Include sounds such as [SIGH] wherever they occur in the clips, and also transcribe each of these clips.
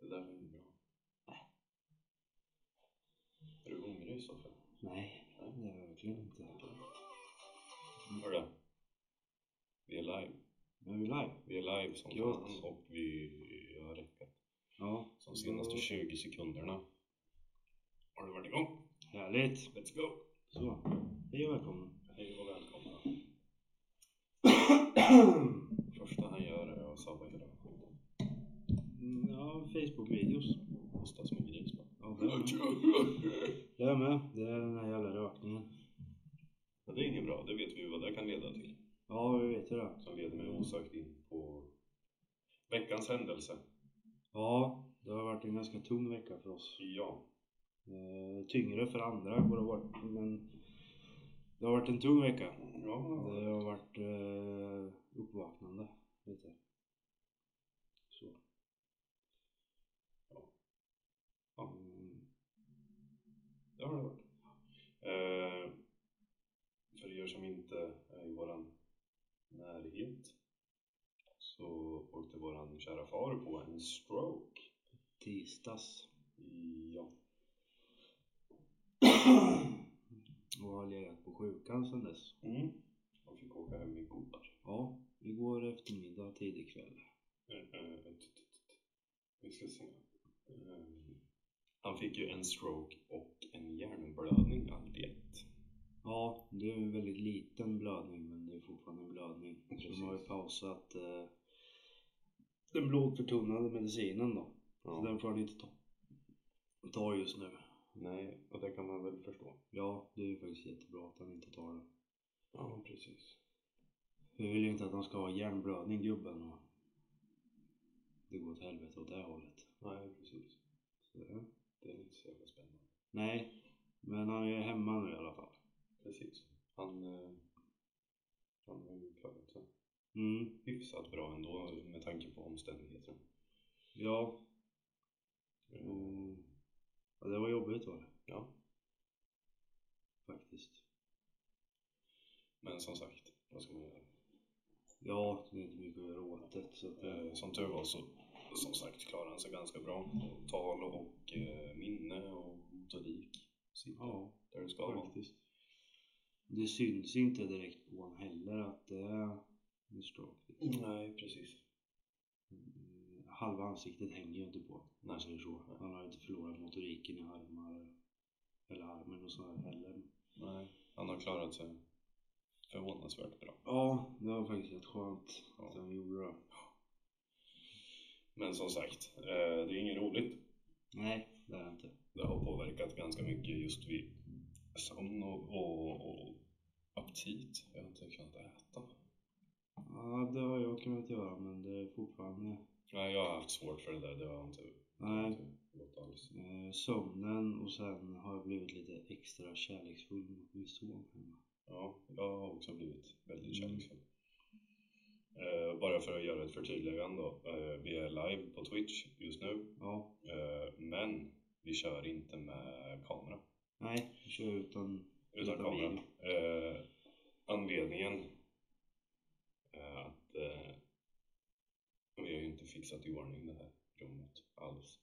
Det där var inget bra. Är du hungrig i så fall? Nej, det är jag verkligen inte. Hörru. Vi är live. Nu är vi live. Vi är live som Gött. fan och vi har räckat. Ja, De senaste 20 sekunderna har du varit igång. Härligt. Let's go! Så, hej och välkomna. Hej och välkomna. Första han gör är att sabba hela skiten. Mm, [CLEARS THROAT] Ja, Facebook-videos. Hosta som en gris bara. Ja, det är med. Det är med. Det är den här jävla rökningen. Men det är inget bra, det vet vi vad det kan leda till. Ja, vi vet ju det. Som leder mig osökt in på veckans händelse. Ja, det har varit en ganska tung vecka för oss. Ja. Eh, tyngre för andra borde det ha varit, men det har varit en tung vecka. Ja. Det har varit eh, uppvaknande lite. Så. Ja. Mm. Det har det varit. Eh, för er som inte är i våran närhet så åkte våran kära far på en stroke. Tisdags. [CLEARS THROAT] Ja, och har legat på sjukan sedan dess. mm. han fick åka hem igår. Ja, igår eftermiddag, tidig kväll. Eh, eh, t- t- t- Vi ska se. Eh, Han fick ju en stroke och en hjärnblödning allt i ett. Ja, det är en väldigt liten blödning men det är fortfarande en blödning. Precis. De har ju pausat eh, den blodförtunnande medicinen då. Så den får han inte ta, ta just nu. Nej, och det kan man väl förstå. Ja, det är ju faktiskt jättebra att han inte tar den. Ja, precis. Vi vill ju inte att han ska ha hjärnblödning gubben. Och det går åt helvete åt det hållet. Nej, precis. Så, ja. Det är inte så jävla spännande. Nej, men han är hemma nu i alla fall. Precis. Han, eh, han har ju klarat sig Mm, hyfsat bra ändå med tanke på omständigheterna. ja. Mm. Mm. Ja, det var jobbigt var det. Ja. Faktiskt. Men som sagt, vad ska man göra? Ja, det är inte mycket att göra åt det. Så att, Eh, Som tur var så, som sagt, klarade han sig ganska bra. Tal och eh, minne och motorik sitter ja, där det ska vara. faktiskt. Det syns inte direkt på honom heller att det är en stroke. Nej, precis. Mm, Halva ansiktet hänger ju inte på när Nej. säger så. Han har ju inte förlorat motoriken i armar eller armen och sådär heller. Nej, han har klarat sig förvånansvärt bra. Ja, det var faktiskt rätt skönt att Ja. han gjorde det. Men som sagt, eh, det är inget roligt. Nej, det är det inte. Det har påverkat ganska mycket just vid sömn och, och, och aptit. Jag har inte kunnat äta. Ja, det har jag kunnat göra men det är fortfarande Nej, jag har haft svårt för det där. Det har inte det har Nej. inte gått alls. eh, sömnen och sen har jag blivit lite extra kärleksfull mot min son hemma. Ja, jag har också blivit väldigt Mm. kärleksfull. Eh, bara för att göra ett förtydligande då. Eh, vi är live på Twitch just nu, Ja, eh, men vi kör inte med kamera. nej, jag kör utan Utan Utan kamera. Eh, anledningen är att eh, vi har ju inte fixat i ordning det här rummet alls.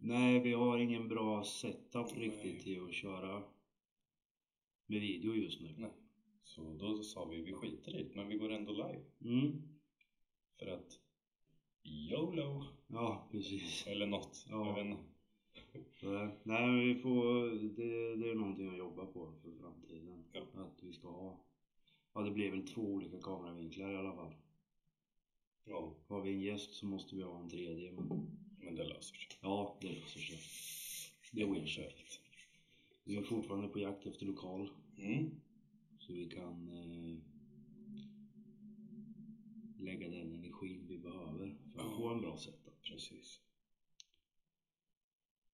Nej, vi har ingen bra setup Nej. riktigt till att köra med video just nu. Nej. Så då sa vi, vi skiter i det, men vi går ändå live. Mm. För att YOLO! Ja, precis. Eller något. Ja. Jag vet inte. Så, Nej, men vi får, det, det är någonting jag jobbar på för framtiden. Ja. Att vi ska ha, ja det blir väl två olika kameravinklar i alla fall. Ja, Har vi en gäst så måste vi ha en tredje. Men men det löser sig. ja, det löser sig. Det ordnar sig. Vi är fortfarande på jakt efter lokal. Mm. Så vi kan eh, lägga den energin vi behöver för att Ja. få en bra setup. Precis.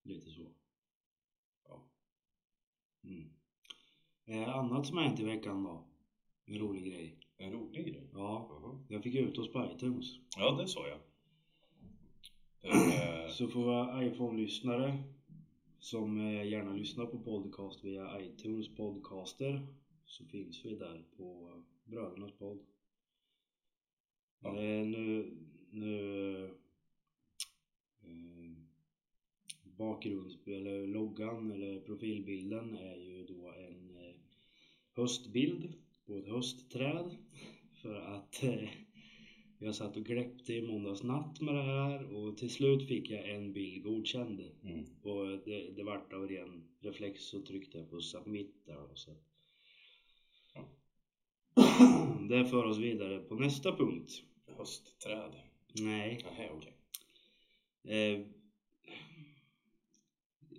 Lite så. Ja. Mm. Eh, annat som hänt i veckan då? En rolig grej. En rolig grej. Ja, Jaha. jag fick ut oss på iTunes. Ja, det sa jag. Eh, Så för våra iPhone-lyssnare som eh, gärna lyssnar på podcast via iTunes podcaster så finns vi där på Brödernas podd. Ja. Eh, Nu, nu eh, bakgrunds eller loggan eller profilbilden är ju då en eh, höstbild på ett höstträd [LAUGHS] för att eh, jag satt och gläppte i måndags natt med det här och till slut fick jag en bild godkänd. [CLEARS THROAT] Mm. Och det, det vart av ren reflex så tryckte jag på submit där och så. Ja. [CLEARS THROAT] Det för oss vidare på nästa punkt. Höstträd. Nej. Nähä, okej. Eh,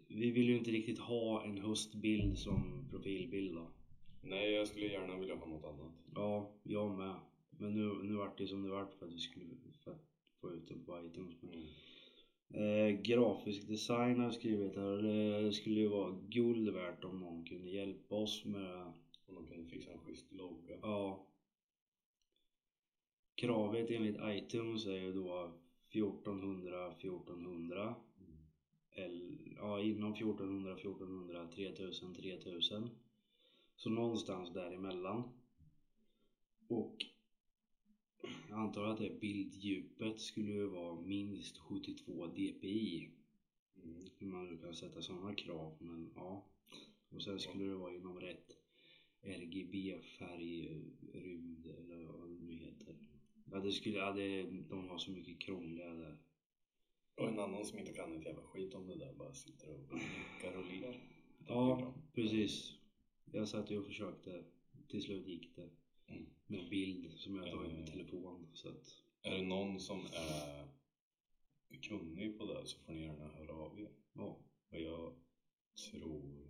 vi vill ju inte riktigt ha en höstbild som profilbild då. Nej, jag skulle gärna vilja ha något annat. Ja, jag med. Men nu, nu vart det som det vart för att vi skulle för att få ut den på iTunes. Men Mm. Eh, grafisk design har jag skrivit här. Det skulle ju vara guld värt om någon kunde hjälpa oss med Om de kunde fixa en schysst logga. ja, kravet enligt iTunes är ju då 1400 1400 Mm. eller ja, inom 1400 1400 3000 3000 så någonstans däremellan och jag antar att det bilddjupet skulle ju vara minst 72 dpi Mm. hur man nu kan sätta sådana krav men ja. Och sen skulle det vara inom rätt RGB-färgrymd eh, eller vad det nu heter. Ja, det skulle, ja det, de har så mycket krångliga där. Och en annan som inte kan ett jävla skit om det där bara sitter och nickar och ler. Det Ja. blir bra. Precis. Jag satt ju och försökte. Till slut gick det. Mm. Med bild som jag tagit med Eh. telefon. Så att, Är det någon som är kunnig på det här så får ni gärna höra av er. ja. Och jag tror...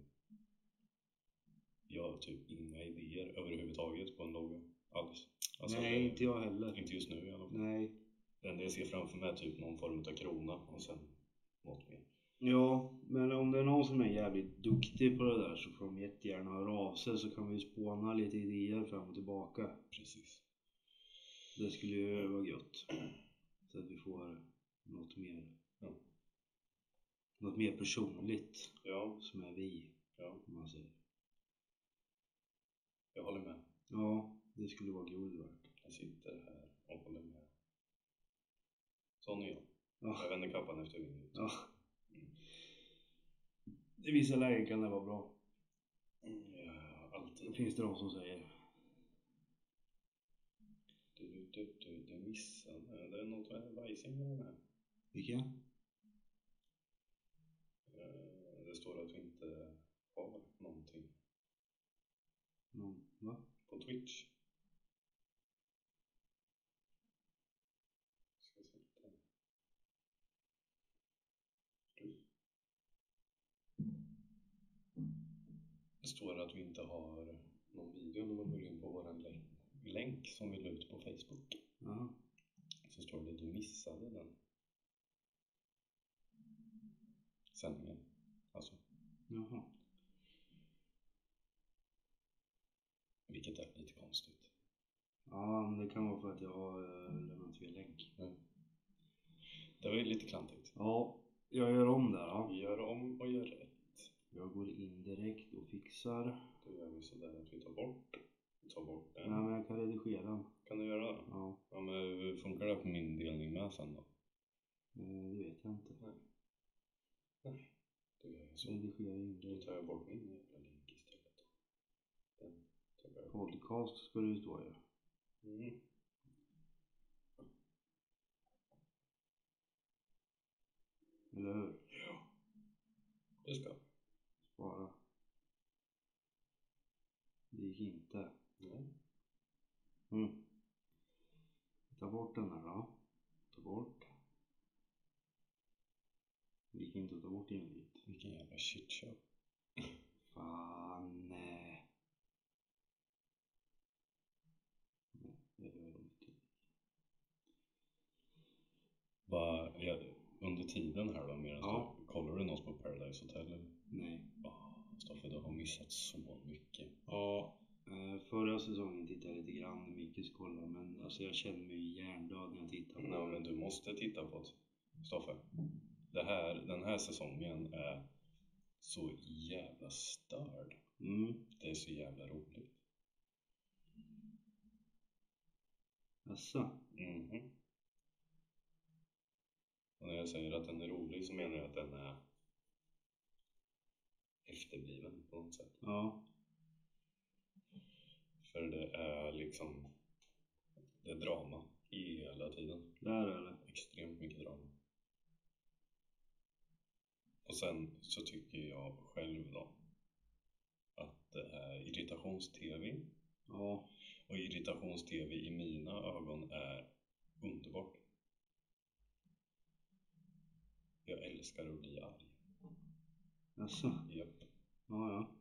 Jag har typ inga idéer överhuvudtaget på en logga alls. Alltså, Nej, det- inte jag heller. Inte just nu i alla fall. Nej. Det enda jag ser framför mig är typ någon form av krona och sen något mer. Ja, men om det är någon som är jävligt duktig på det där så får de jättegärna höra av sig så kan vi spåna lite idéer fram och tillbaka. Precis. Det skulle ju vara gött. Så att vi får något mer. Ja. Något mer personligt Ja, som är vi. ja, Om man säger. jag håller med. Ja, det skulle vara guld värt. Jag sitter här och håller med. Sån är jag. Jag Ja. vänder kappan efter vinden. ja. I vissa lägen kan det vara bra. Ja, alltid. Det finns det de som säger. Du, du, du, du, du missar mig. Det är något med bajsing med den här. Vilka? Eh, Det står att vi inte har någonting Någon, va? på Twitch. Ska se lite. Det står att vi inte har någon video när man går in på vår länk, länk som vi la ut på Facebook. Jaha. Så står det du missade den. Sändningen. Alltså, Jaha. vilket är lite konstigt. Ja, men det kan vara för att jag har eh, lämnat fel länk. Det var ju lite klantigt. Ja, jag gör om där. Ja. Gör om och gör rätt. Jag går in direkt och fixar. Då gör vi sådär att vi tar bort. Tar bort den. Nej, men jag kan redigera den. Kan du göra det? Ja, Ja men hur funkar det på min delning med sen då? eh, det vet jag inte. Då gör jag så. Redigera Då inlägg. tar jag bort min jävla länk istället. då. Den tar jag bort. Podcast ska det ju stå ju. Mm. Eller hur? Det ska. Spara. Det gick inte. Nej. Mm. Ta bort den här då. Ta bort. Det gick inte att ta bort inlägget. Vilken jävla shitshow. Fan. Nej. Nej, det gör det inte. Vad, ja, under tiden här då medan Ja. du, kollar du något på Paradise Hotel eller? Nej. Oh, Stoffe du har missat så mycket. Ja, eh, förra säsongen tittade jag lite grann, Mikis kollade, men alltså jag känner mig hjärndöd när jag tittar på Nej men du måste titta på det. Stoffe. Det här, den här säsongen är så jävla störd. Mm. Det är så jävla roligt. Jaså? Mhm. Och när jag säger att den är rolig så menar jag att den är efterbliven på något sätt. Ja. För det är liksom, det är drama hela tiden. Där eller? extremt mycket drama. Och sen så tycker jag själv då att det är irritations-tv Ja. och irritations-tv i mina ögon är underbart. Jag älskar att bli arg. Jaså? Japp. Ja, ja.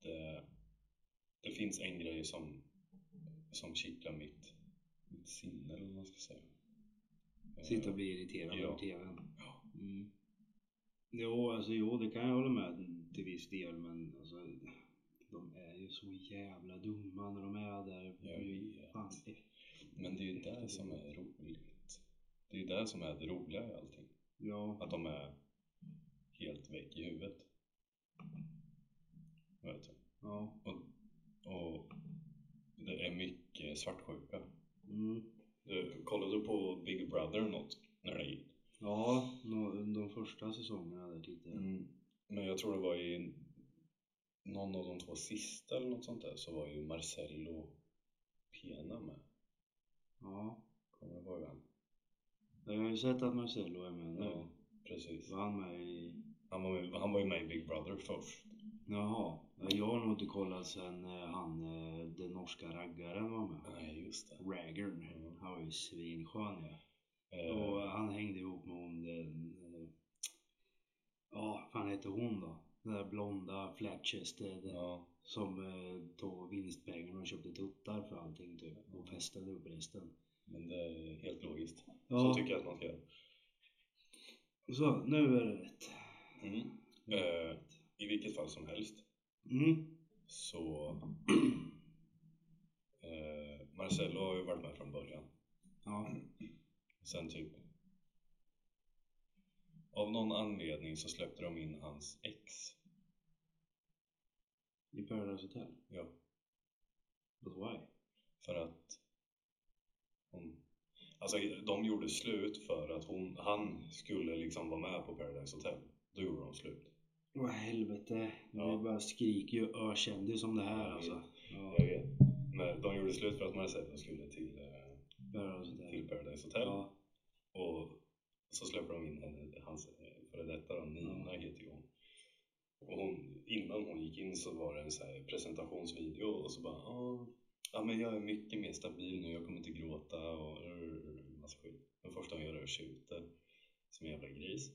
Det, det finns en grej som, som kittlar mitt, mitt sinne eller vad man ska säga. Sitta och bli irriterad Ja. över tvn. Ja. Mm. Jo, alltså jo, det kan jag hålla med till viss del men alltså de är ju så jävla dumma när de är där. Jag vet. Fan, eh, Men det är ju det som är roligt. Det är ju det som är det roliga i allting. Ja, Att de är helt väck i huvudet. Vet du. ja. Och det är mycket svartsjuka. Mm. Du, kollade du på Big Brother något när det gick? Ja, no, de första säsongerna där tittade jag. Mm. Men jag tror det var i någon av de två sista eller något sånt där så var ju Marcello Pena med. Ja. Kommer du ihåg han? Jag har ju sett att Marcello är med nu. Ja, precis. Var han med i... Han var, med, han var ju med i Big Brother först. Jaha. Ja, Jag har nog inte kollat sen eh, han, eh, den norska raggaren var med. Nej, just det. Raggern. Mm. Han var ju svinskön ja. Eh, Och han hängde ihop med hon den... eh, Ja, vad fan hette hon då? Den där blonda Flatchester ja, som eh, tog vinstpengarna och köpte tuttar för allting typ och festade upp resten. men det är helt logiskt. Ja, Så tycker jag att man ska göra. så nu är det rätt. Mm. Eh, I vilket fall som helst Mm. så [CLEARS THROAT] eh, Marcello har ju varit med från början. Ja, Sen typ av någon anledning så släppte de in hans ex. i Paradise Hotel. Ja, But why? för att hon Alltså de gjorde slut för att hon, han skulle liksom vara med på Paradise Hotel. Då gjorde de slut. Åh helvete. Ja. Det bara skriker ju ökändis om det här Jag alltså. Ja, Jag vet. Men de gjorde slut för att Marcello skulle till, eh, Paradise Hotel. till Paradise Hotel. Ja, Och så släpper de in henne, hans eh, före detta då, Nina heter ju hon. Och hon, innan hon gick in så var det en så här presentationsvideo och så bara "Ah, ja men jag är mycket mer stabil nu, jag kommer inte gråta och rrr, massa skit. Den första hon gör är att tjuta som en jävla gris.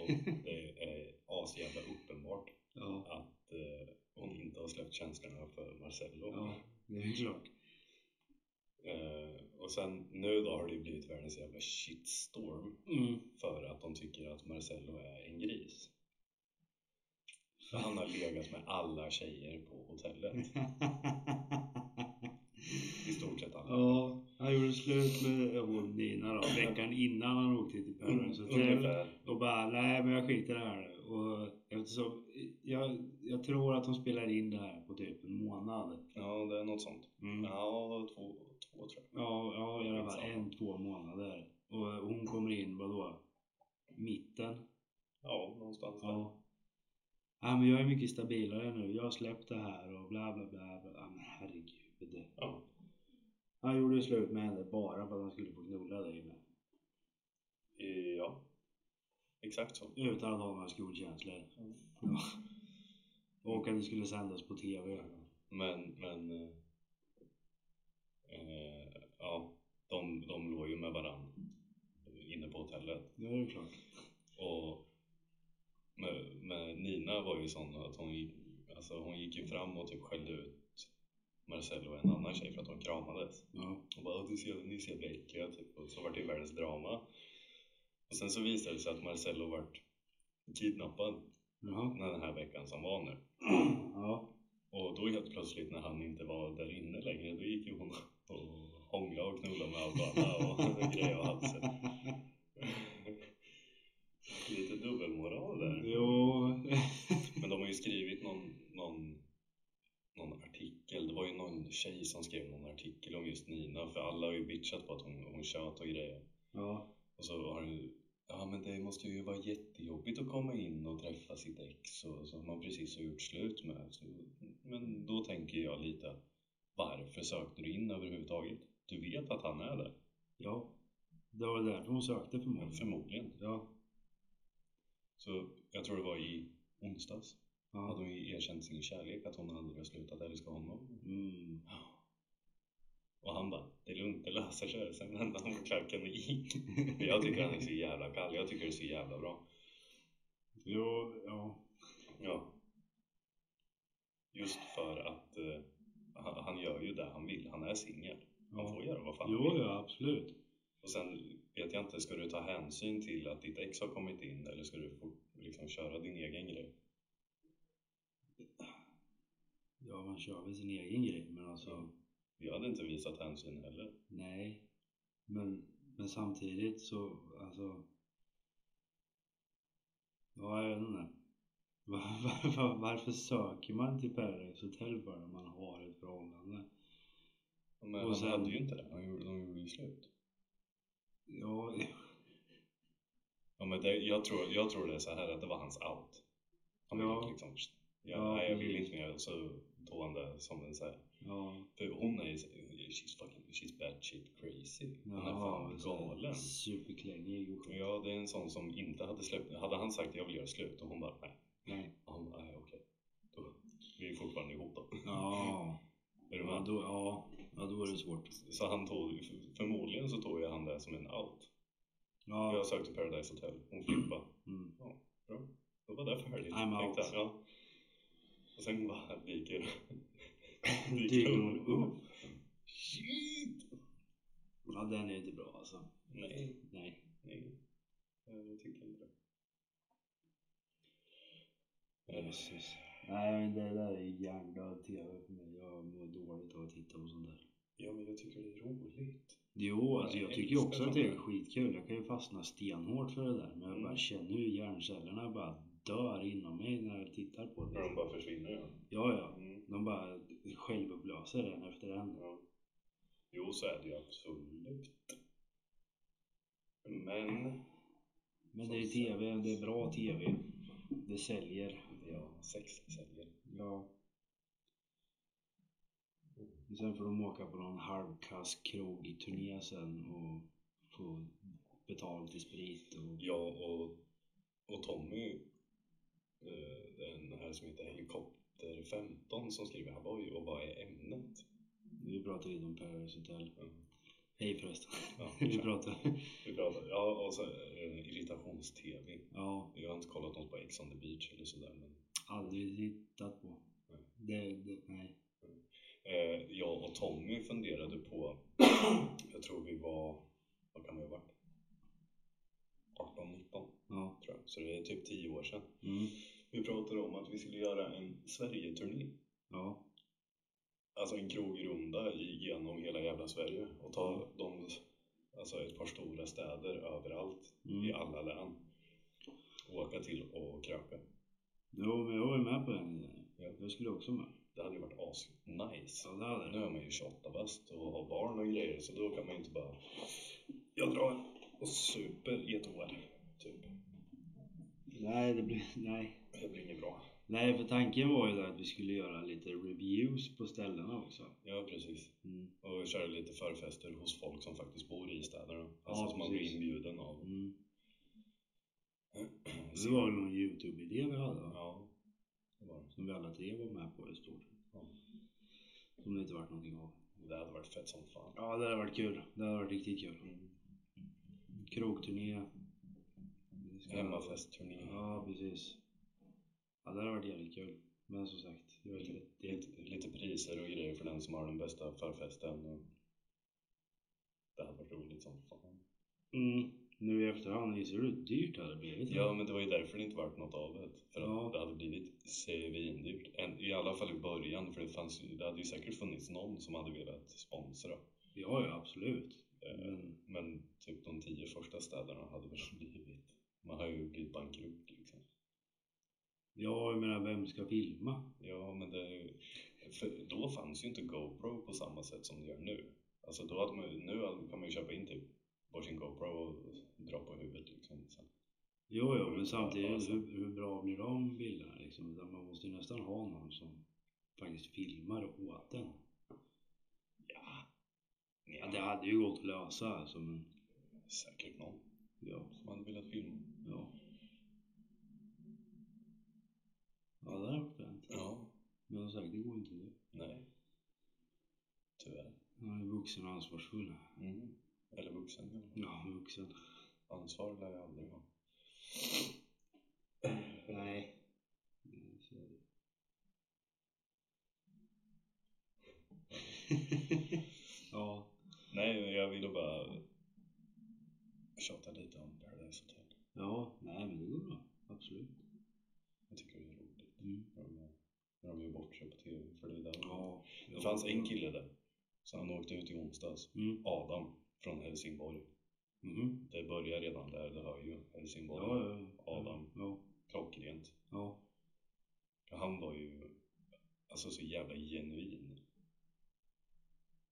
Och det är asjävla uppenbart ja, att eh, hon inte har släppt känslorna för Marcello. ja. Det är ju klart. Eh, och sen nu då har det ju blivit världens jävla shitstorm [LAUGHS] Mm. för att de tycker att Marcello är en gris. För han har legat med alla tjejer på hotellet. I stort sett alla. Ja, han gjorde slut med oh, Nina då, veckan innan han åkte till Mm, Paradise Hotel. Ungefär. Och bara, nej men jag skiter i det här nu." Och eftersom, jag, jag tror att de spelar in det här på typ en månad. Ja, det är något sånt. Mm. Ja, Ja, två, två tror jag. ja i alla fall Skitsamma. en, två månader. Och hon kommer in, vadå? Mitten? Ja, någonstans där. Ja. Ja men jag är mycket stabilare nu, jag har släppt det här och bla bla bla. bla. Ja men herregud. Ja. Han gjorde ju slut med henne bara för att han skulle få knulla dig med. Eh, ja. Exakt så. Utan att ha några skolkänslor. Mm. Ja. Och att det skulle sändas på TV. Men, men... eh, Eh, ja, de, de låg ju med varandra inne på hotellet. Ja, det är klart. Och med, med Nina var ju sån att hon gick, alltså hon gick ju fram och typ skällde ut Marcello och en annan tjej för att de kramades. Ja. Och bara "Åh, du ser, ni ser äckliga typ. Och så vart det ju världens drama. Och sen så visade det sig att Marcello vart kidnappad Jaha. [CLEARS THROAT] den här veckan som var nu. Ja. Och då helt plötsligt när han inte var där inne längre då gick ju hon [LAUGHS] och hånglade och knullade med allt och alla och [LAUGHS] grejade och hade [LAUGHS] sig. Lite dubbelmoral där. Jo, [LAUGHS] tjej som skrev någon artikel om just Nina för alla har ju bitchat på att hon, hon tjöt och grejer. Ja, Och så har det Ja men det måste ju vara jättejobbigt att komma in och träffa sitt ex och, som man precis har gjort slut med. Så, men då tänker jag lite Varför sökte du in överhuvudtaget? Du vet att han är där? ja. Det var väl därför hon sökte förmodligen. Förmodligen. Ja, Så jag tror det var i onsdags hade ja. hon ju erkänt sin kärlek att hon aldrig har slutat älska honom. Mm. Och han bara, det är lugnt, det löser sig. Sen vände han på klacken och gick. Jag tycker han är så jävla kall, jag tycker det är så jävla bra. Jo, ja. Ja. Just för att eh, han- han gör ju det han vill, han är singel. Han får ja. göra vad fan Jo, han vill. ja absolut. Och sen vet jag inte, ska du ta hänsyn till att ditt ex har kommit in eller ska du fort, liksom köra din egen grej? Ja, man kör väl sin egen grej, men alltså. Ja. Jag hade inte visat hänsyn heller. Nej, men, men samtidigt så, alltså. Ja, jag vet inte. [LAUGHS] Var, var, var, varför söker man till Paradise Hotel för när man har ett förhållande? Men Och han sen- hade ju inte det, han gjorde, de gjorde ju slut. Ja, [LAUGHS] Ja, men det, jag, tror, jag tror det är så här att det var hans out. Han ville Ja. liksom, pst, ja, Ja, mm. nej, jag vill precis. inte mer. Så tog han det som en så här. ja. För hon är ju så- she's fucking, she's bad shit crazy. Hon är Jaha, fan så här galen. Superklängig och skit. Ja, det är en sån som inte hade släppt, hade han sagt jag vill göra slut och hon bara nej. [LAUGHS] Nej. Och han bara, nej okej. Då, vi är fortfarande ihop då. Ja, Är du ja, med? då, ja, ja, då är det svårt. Så han tog, förmodligen så tog ju han det som en out. Ja, Jag sökte Paradise Hotel, hon flippade. mm. alltså- Då var det färdigt. I'm out. tänkte jag, Ja. Och sen bara dyker, [LAUGHS] Dyker hon upp? Shit! Ja, den är inte bra alltså. Nej, Nej. nej. Eh, Jag tycker inte det. Eh, Jösses. Nej, men det där är hjärndöd tv för mig. Jag mår dåligt av att titta på sånt där. Ja, men jag tycker det är roligt. Jo, alltså Jag jag tycker ju älskar också att sånt det där. är skitkul. Jag kan ju fastna stenhårt för det där. Men jag Mm. bara känner hur hjärncellerna bara dör inom mig när jag tittar på det. När de bara försvinner ja. Ja, ja. Mm. De bara självupplöser en efter en. ja. Jo, så är det ju absolut. Men, Men Som det är sagt. tv, det är bra tv. Det säljer. ja, sex säljer. Ja. Och Sen får de åka på någon halvkass krog i turné sen och få betalt i sprit och... Ja, och, och Tommy, eh, den här som heter Helikopter 15 som skriver han var ju och vad är ämnet? Vi pratar lite om Paradise Hotel. Ja. Hej förresten. Ja, [LAUGHS] Vi pratar... Vi pratar, ja, och så eh, irritations-tv. Ja, Jag har inte kollat något på Ex on the beach eller sådär men aldrig tittat på. Nej. Det, det, nej. Eh, jag och Tommy funderade på, [CLEARS THROAT] jag tror vi var, vad kan vi ha varit? 18, 19 Ja. tror jag, så det är typ 10 år sedan. Mm. Vi pratade om att vi skulle göra en Sverige-turné. Ja. Alltså en krogrunda i- genom hela jävla Sverige och ta de, alltså ett par stora städer överallt i Mm. alla län. Och åka till och kröka. Jo, men jag var ju med på den idén. Ja. Jag skulle också med. Det hade ju varit as-nice. Ja, det hade Nu det. är man ju 28 bast och har barn och grejer så då kan man ju inte bara Jag drar och super i ett år. Typ. Nej, det blir... Nej. Det blir inget bra. Nej, för tanken var ju där att vi skulle göra lite reviews på ställena också. Ja precis. Mm. Och köra lite förfester hos folk som faktiskt bor i städerna. Alltså Ja, som man blir precis. inbjuden av. Mm. Det var väl någon Youtube-idé vi hade va? Ja. Det, var. det. Som vi alla tre var med på i stort sett. Ja. Som det inte vart någonting av. det hade varit fett som fan. Ja, det hade varit kul. Det hade varit riktigt kul. Krogturné. Vi ska- Hemmafestturné. Ja, precis. Ja, det hade varit jävligt kul. Men som sagt, jag vet inte. Det är... Lite, lite priser och grejer för den som har den bästa förfesten. Och... Det hade varit roligt som fan. Mm. Nu i efterhand inser du hur dyrt det hade blivit. Ja, men det var ju därför det inte vart något av det. För att Ja. det hade blivit svindyrt. En- I alla fall i början, för det, fanns, ju- det hade ju säkert funnits någon som hade velat sponsra. ja, ja absolut. Eh, Men Men typ de tio första städerna hade väl [LAUGHS] blivit... Man har ju blivit bankrutt liksom. ja, jag menar, vem ska filma? Ja, men det... för då fanns ju inte GoPro på samma sätt som det gör nu. Alltså då hade man, ju- nu hade- kan man ju köpa in typ varsin GoPro och dra på huvudet liksom. Så, Jo, jo, Mm, men samtidigt, alltså. hur, hur bra blir de bilderna liksom? Utan man måste ju nästan ha någon som faktiskt filmar åt den. ja. Ja, ja, det hade ju gått att lösa alltså, men säkert någon ja. som hade velat filma. Ja, ja det hade varit fränt. Ja, Men som sagt, det går inte nu. nej. Tyvärr. Han är vuxen och ansvarsfull. Mm. Eller vuxen. eller? Ja, vuxen. Ansvar lär jag aldrig ha. Nej. Nej, så är det. [LAUGHS] ja. Nej, jag ville bara tjata lite om Paradise Hotel. Ja, nej men det går bra. Absolut. Jag tycker det är roligt Mm. när de, när de gör bort sig på TV. För det, är där de- Ja. det fanns en kille där, så han åkte ut i onsdags. Mm. Adam från Helsingborg. Mhm. Det börjar redan där, det hör ju. Helsingborg. Ja, ja, ja. Adam. Ja, Klockrent. ja. Han var ju alltså så jävla genuin.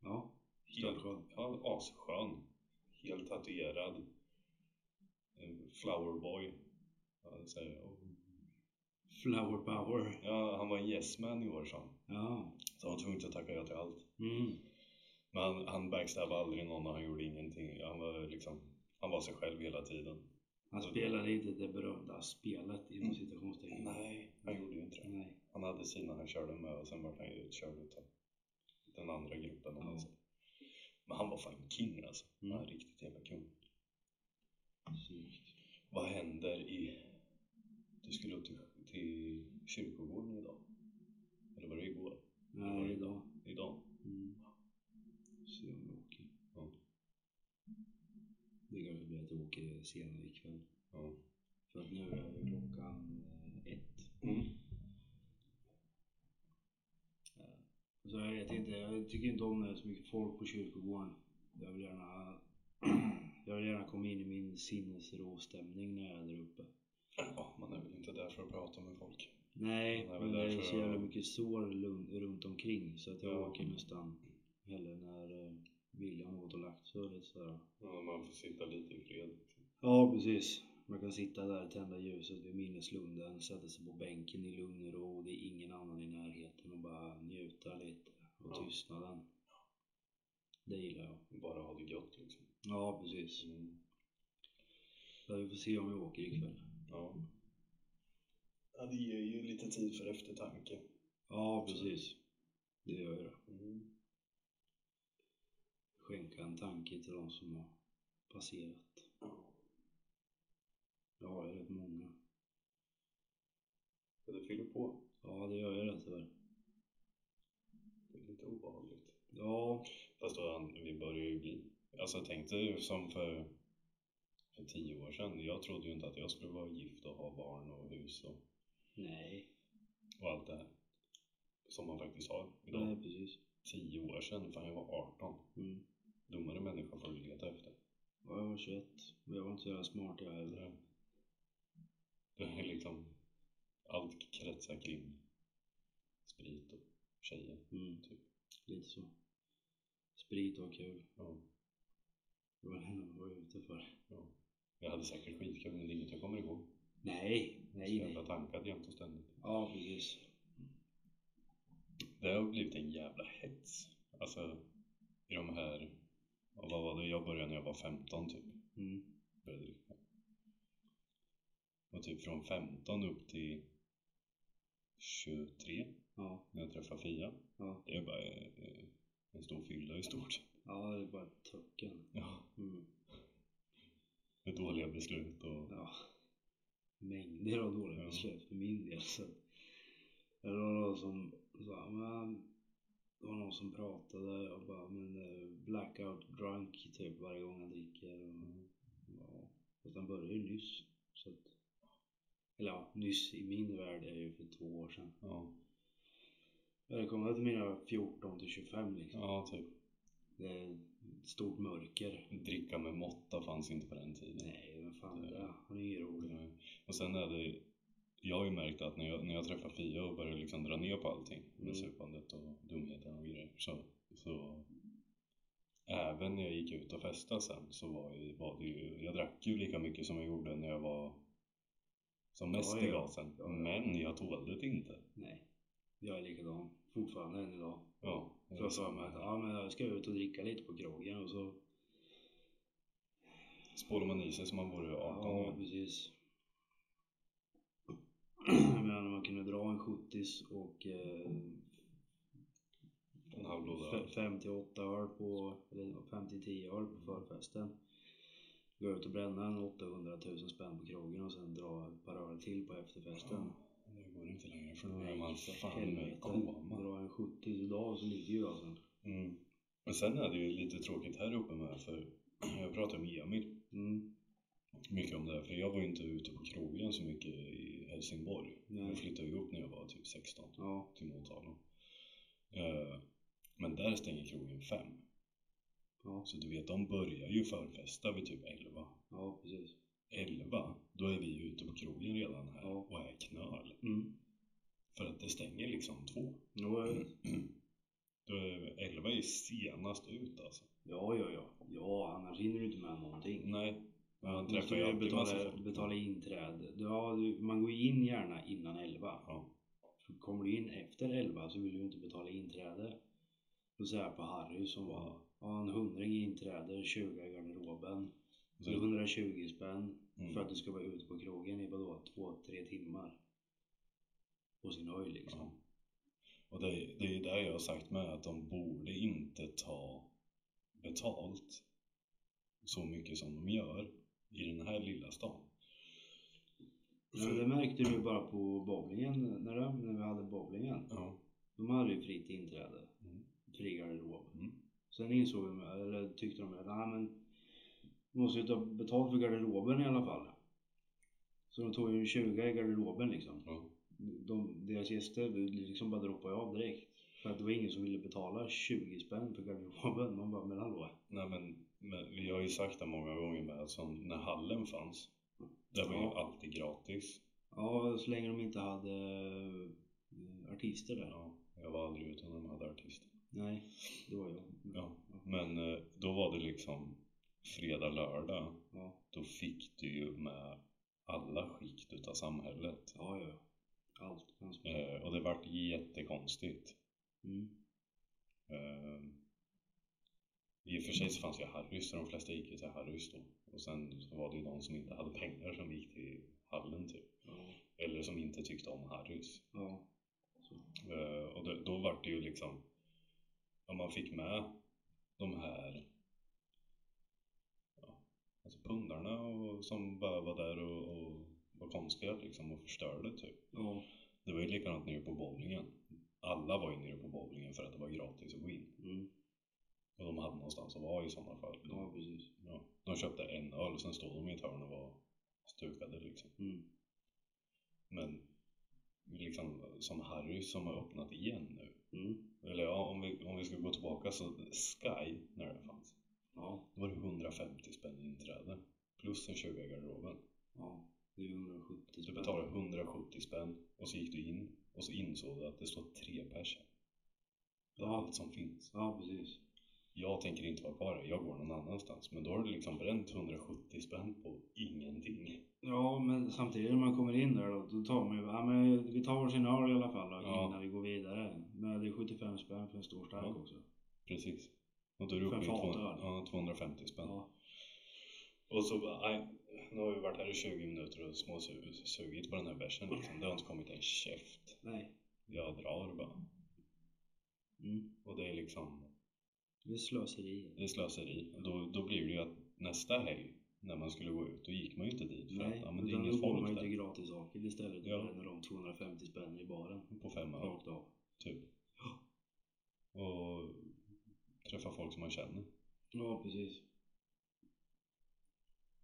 Ja, Helt störtskön. Ja, asskön. Helt tatuerad. Eh, Flowerboy. Ja, så här, och- Flower power. ja, han var en yes man i år sa han. Ja. Så han var tvungen att tacka ja till allt. Mm. Men han, han backstabbade aldrig någon och han gjorde ingenting. Han var liksom, han var sig själv hela tiden. Han spelade inte det berömda spelet inom citationstecken. Mm. Nej, han gjorde ju inte det. Nej. Han hade sina han körde med och sen var han ju utkörd utav den andra gruppen om man Ja. säger. Men han var fan king alltså. Han var Mm. riktigt jävla kung. Snyggt. Vad händer i... Du skulle upp till, till kyrkogården idag? Eller var det igår? Nej, idag. Idag? Mm. Se om jag åker. Ja. Det kanske blir att jag åker senare ikväll. Ja. För att nu är ju klockan eh, ett. Mm. Så jag vet inte, jag tycker inte om när det är så mycket folk på kyrkogården. Jag vill gärna, [CLEARS THROAT] jag vill gärna komma in i min sinnesråstämning när jag är där uppe. ja, man är väl inte där för att prata med folk. Nej, Nej, men men det är därför- så jävla mycket sår lun- runt omkring så att jag Ja. åker nästan hellre när eh, William har gått och lagt sig. och lite sådär. Ja, man får sitta lite i fred. liksom. Ja, precis. Man kan sitta där, tända ljuset vid minneslunden, sätta sig på bänken i lugn och ro. Det är ingen annan i närheten och bara njuta lite av Ja. tystnaden. Det gillar jag. Bara ha det gött liksom. Ja, precis. Mm. Så vi får se om vi åker ikväll. Ja. ja, det ger ju lite tid för eftertanke. Ja, precis. Det gör jag. Mm. Skänka en tanke till de som har passerat. Ja. Jag har ju rätt många. Ja, det fyller på. Ja, det gör jag det tyvärr. Det är lite obehagligt. Ja, Fast då, han- vi börjar ju bli... Alltså tänk dig som för, för tio år sedan. Jag trodde ju inte att jag skulle vara gift och ha barn och hus och, nej. och allt det här. Som man faktiskt har idag. Nej, precis. Tio år sedan, fan jag var 18. Mm. Dummare människor får du leta efter. Ja, jag var 21. Men jag var inte så jävla smart jag heller. Eller? Det är liksom... Allt kretsar kring sprit och tjejer. Mm. Typ. Lite så. Sprit och kul. Ja, Det var det enda man var ute för. ja. Jag hade säkert skitkul, men det är inget jag kommer ihåg. Nej, Så nej, jävla nej. tankad jämt och ständigt. Ja, precis. Det har blivit en jävla hets. Alltså i de här, ja, vad var det, jag började när jag var 15 typ. Mm. Började dricka. Och typ från 15 upp till 23 Ja, när jag träffade Fia. ja. Det är bara eh, en stor fylla i stort sett. Ja, det är bara töcken. Ja, Mm. med dåliga beslut och Ja. Mängder av dåliga Ja. beslut för min del. Så. Det var någon som sa, men det var någon som pratade och bara, men eh, blackout drunk typ varje gång han dricker. Mm. Och, ja. Fast han började ju nyss. Så att, eller ja, nyss i min värld är ju för två år sedan. ja, Välkomna till mina 14 till 25 liksom. ja typ. Det är ett stort mörker. Dricka med måtta fanns inte på den tiden. Nej, men fan det, han är ju rolig. Nej. Och sen Eh, är det jag har ju märkt att när jag, när jag träffar Fia och börjar liksom dra ner på allting med Mm. supandet och dumheten och grejer så, så även när jag gick ut och festade sen så var, ju- var det ju, jag drack ju lika mycket som jag gjorde när jag var som mest Ja, i ja. gasen Ja, ja. men jag tålde det inte. Nej. Jag är likadan. Fortfarande än idag. Ja, det Får var jag för mig att samma. ja, men jag ska ut och dricka lite på krogen och så. Spårar man i sig som man vore 18 Ja, igen. precis. [CLEARS THROAT] Jag menar när man kunde dra en 70 och eh, En halv låda fe- 58 öl på, eller 50-10 öl på förfesten. Gå ut och bränna en 800 000 spänn på krogen och sen dra ett par öl till på efterfesten. Det går inte längre för då är Nej, man fan helvete. med koma. Dra en 70 idag så ligger ju jag sen. Mm. Men sen är det ju lite tråkigt här uppe med för [CLEARS THROAT] jag pratade med Emil Mm, mycket om det här för jag var ju inte ute på krogen så mycket i Helsingborg. Nej. Jag flyttade ju upp när jag var typ 16 ja, till Motala. Eh, Men där stänger krogen fem. ja, Så du vet, de börjar ju förfesta vid typ 11. ja precis. 11, då är vi ute på krogen redan här Ja. och är knöl. Mm. För att det stänger liksom två. Jo, jag vet. Då är 11 är senast ut alltså. Ja, ja, ja. Ja, annars hinner du inte med någonting. Nej, men man Måste träffar ju du alltid massa betala, folk. betala inträde. Ja, du, man går ju in gärna innan 11. Ja. För Kommer du in efter 11 så vill du inte betala inträde. Då säger jag på Harry som var ja, en hundring i inträde, 20 i garderoben. Så Så- 120 spänn Mm. för att du ska vara ute på krogen i vadå, 2-3 timmar. På sin höjd liksom. Ja. Och det, det är ju där jag har sagt med att de borde inte ta betalt så mycket som de gör i den här lilla stan. Men det märkte du ju bara på bowlingen, när, det, när vi hade bowlingen. Ja. De hade ju fritt inträde. Mm. Fri garderob. Mm. Sen insåg de, eller tyckte de att nej men vi måste ju ta betalt för garderoben i alla fall. Så de tog ju en 20 i garderoben liksom. Ja. De, deras gäster det liksom bara droppade av direkt. För att det var ingen som ville betala 20 spänn för garderoben. Man bara, men hallå. Nej, men, men vi har ju sagt det många gånger med att som när hallen fanns, där var ju Ja. alltid gratis. Ja, så länge de inte hade eh, artister där. Ja, jag var aldrig ute när de hade artister. Nej, det var jag. Ja, men eh, då var det liksom fredag, lördag. Ja. Då fick du ju med alla skikt utav samhället. Ja, ja. Allt. fanns med. Eh, och det vart jättekonstigt. Mm. Eh, I och för sig så fanns ju Harrys, så de flesta gick ju till Harrys då. Och sen så var det ju de som inte hade pengar som gick till hallen typ. Ja. Eller som inte tyckte om Harrys. ja. Så. Eh, och då, då vart det ju liksom, om man fick med de här ja, alltså pundarna och, som bara var där och, och var konstiga liksom och förstörde typ. Ja. Det var ju likadant nere på bowlingen. Alla var ju nere på bowlingen för att det var gratis att gå in. Mm. Och de hade någonstans att vara i sådana fall. ja, precis. Ja. De köpte en öl och sen stod de i ett hörn och var stukade liksom. Mm. Men liksom som Harry som har öppnat igen nu. Mm. Eller ja, om vi, om vi ska gå tillbaka så Sky, när det fanns, Ja. då var det 150 spänn i inträde. Plus en 20 i garderoben. Ja, det är 170 Du betalade 170 spänn och så gick du in och så insåg du att det står tre personer. Det är Ja. allt som finns. Ja, precis. Jag tänker inte vara kvar här, jag går någon annanstans. Men då har du liksom bränt 170 spänn på ingenting. Ja, men samtidigt när man kommer in där då, då tar man ju, ja men vi tar varsin öl i alla fall då, Ja. innan vi går vidare. Men det är 75 spänn för en stor stark Ja. också. Precis. Och då är du uppe i För en två- fatöl. ja, 250 spänn. Ja. Och så bara, nej, nu har vi varit här i 20 minuter och småsugit på den här bärsen liksom. Det har inte kommit en käft. Nej. Jag drar bara. Mm. Och det är liksom, Det är slöseri. det är slöseri. Och Då, då blir det ju att nästa helg när man skulle gå ut, då gick man ju inte dit för att Nej, ja, men det är utan då inget får man folk ju till där gratis saker istället och Ja. bränner de 250 spänn i baren. på fem öre Rakt av. typ. Och träffa folk som man känner. Ja, precis.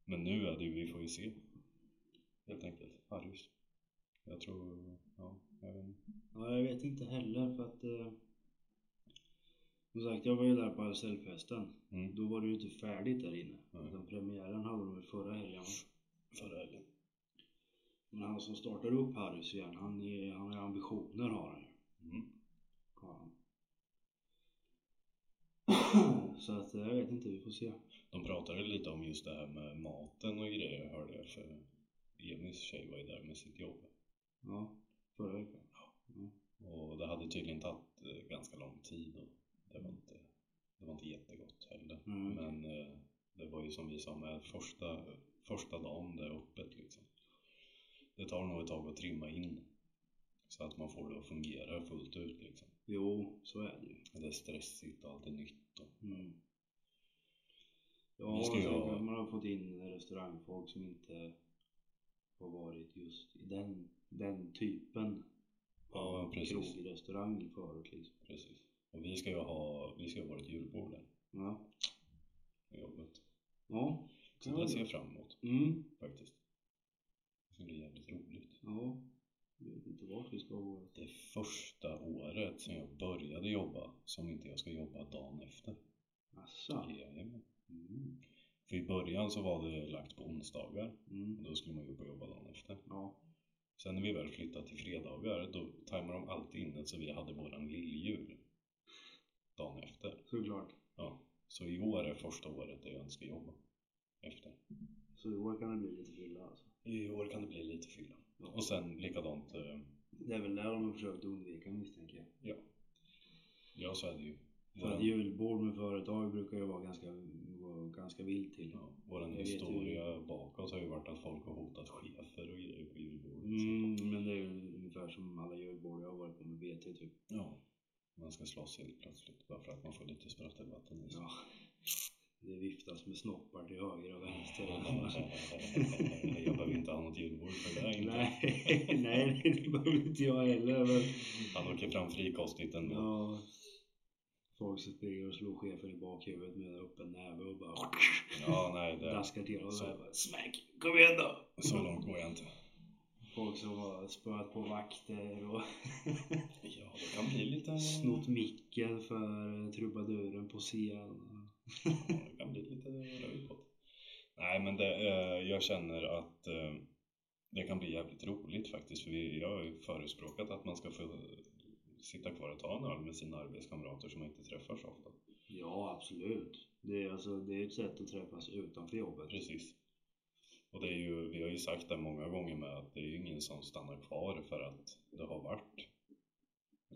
Men nu är det ju, vi får ju se. Helt enkelt. Harrys. Jag tror, ja, jag vet inte. Ja, jag vet inte heller för att eh, som sagt, jag var ju där på RSL-festen. Mm. Då var det ju inte färdigt där inne. Liksom, Nej. Utan premiären hade de väl förra helgen. va? Förra helgen. Men han som startar upp Harrys igen, han, är, han har ambitioner har han ju. Mm. Har han. [CLEARS THROAT] Så att eh, jag vet inte, vi får se. De pratade lite om just det här med maten och grejer hörde jag för Emils tjej var ju där med sitt jobb. Ja, förra veckan. Och det hade tydligen tagit eh, ganska lång tid och det var inte, det var inte jättegott heller. Mm. Men eh, det var ju som vi sa med första, första dagen det är öppet liksom. Det tar nog ett tag att trimma in så att man får det att fungera fullt ut liksom. Jo, så är det ju. Det är stressigt och allt är nytt och Mm. Ja, Vi och ska ju sen ha- kanske man har fått in restaurangfolk som inte har varit just i den, den typen Ja, av precis. krogrestaurang förut liksom. precis. Och vi ska ju ha, vi ska ju ha vårt julbord där Ja, på jobbet. ja. Så kan det vara ser jag gött. fram emot Mm, faktiskt. Det ska bli jävligt roligt. ja. Jag vet inte vart vi ska gå. det första året sen jag började jobba som inte jag ska jobba dagen efter. Asså? Jajamän. Mm. För i början så var det lagt på onsdagar och Mm. då skulle man ju upp och jobba dagen efter. Ja, Sen när vi väl flyttade till fredagar då tajmade de alltid in det så vi hade våran lilljul dagen efter. såklart. Ja. Så i år är första året där jag inte ska jobba efter. Så i år kan det bli lite fylla alltså. I år kan det bli lite fylla. Ja. Och sen likadant, eh, Det är väl där de har försökt undvika misstänker jag. ja så är det ju. För att Våran, julbord med företag brukar ju vara ganska, gå ganska vilt till. ja, våran Jag vet ju- historia bakåt har ju varit att folk har hotat chefer och grejer på julbordet. Mm, men det är ju ungefär som alla julbord jag har varit på med BT typ. Ja. Man ska slåss helt plötsligt bara för att man får lite sprattelvatten i sig. Ja. Det viftas med snoppar till höger och vänster. [LAUGHS] jag behöver inte ha något julbord för det här inte. nej, nej, det behöver inte jag heller. Men, Han åker fram frikostigt ändå. ja, folk springer och slår chefen i bakhuvudet med öppen näve och bara Ja, nej, det, daskar till och så- så. Smack, kom igen då! så långt går jag inte. Folk som har spöat på vakter och Ja, det kan bli Mm. lite... snott micken för trubaduren på scen. Ja, det kan bli lite löjligt. Nej, men det, eh, jag känner att eh, det kan bli jävligt roligt faktiskt. För vi, jag har ju förespråkat att man ska få sitta kvar och ta en öl med sina arbetskamrater som man inte träffar så ofta. Ja, absolut. Det är, alltså, det är ett sätt att träffas utanför jobbet. Precis. Och det är ju, vi har ju sagt det många gånger med att det är ju ingen som stannar kvar för att det har varit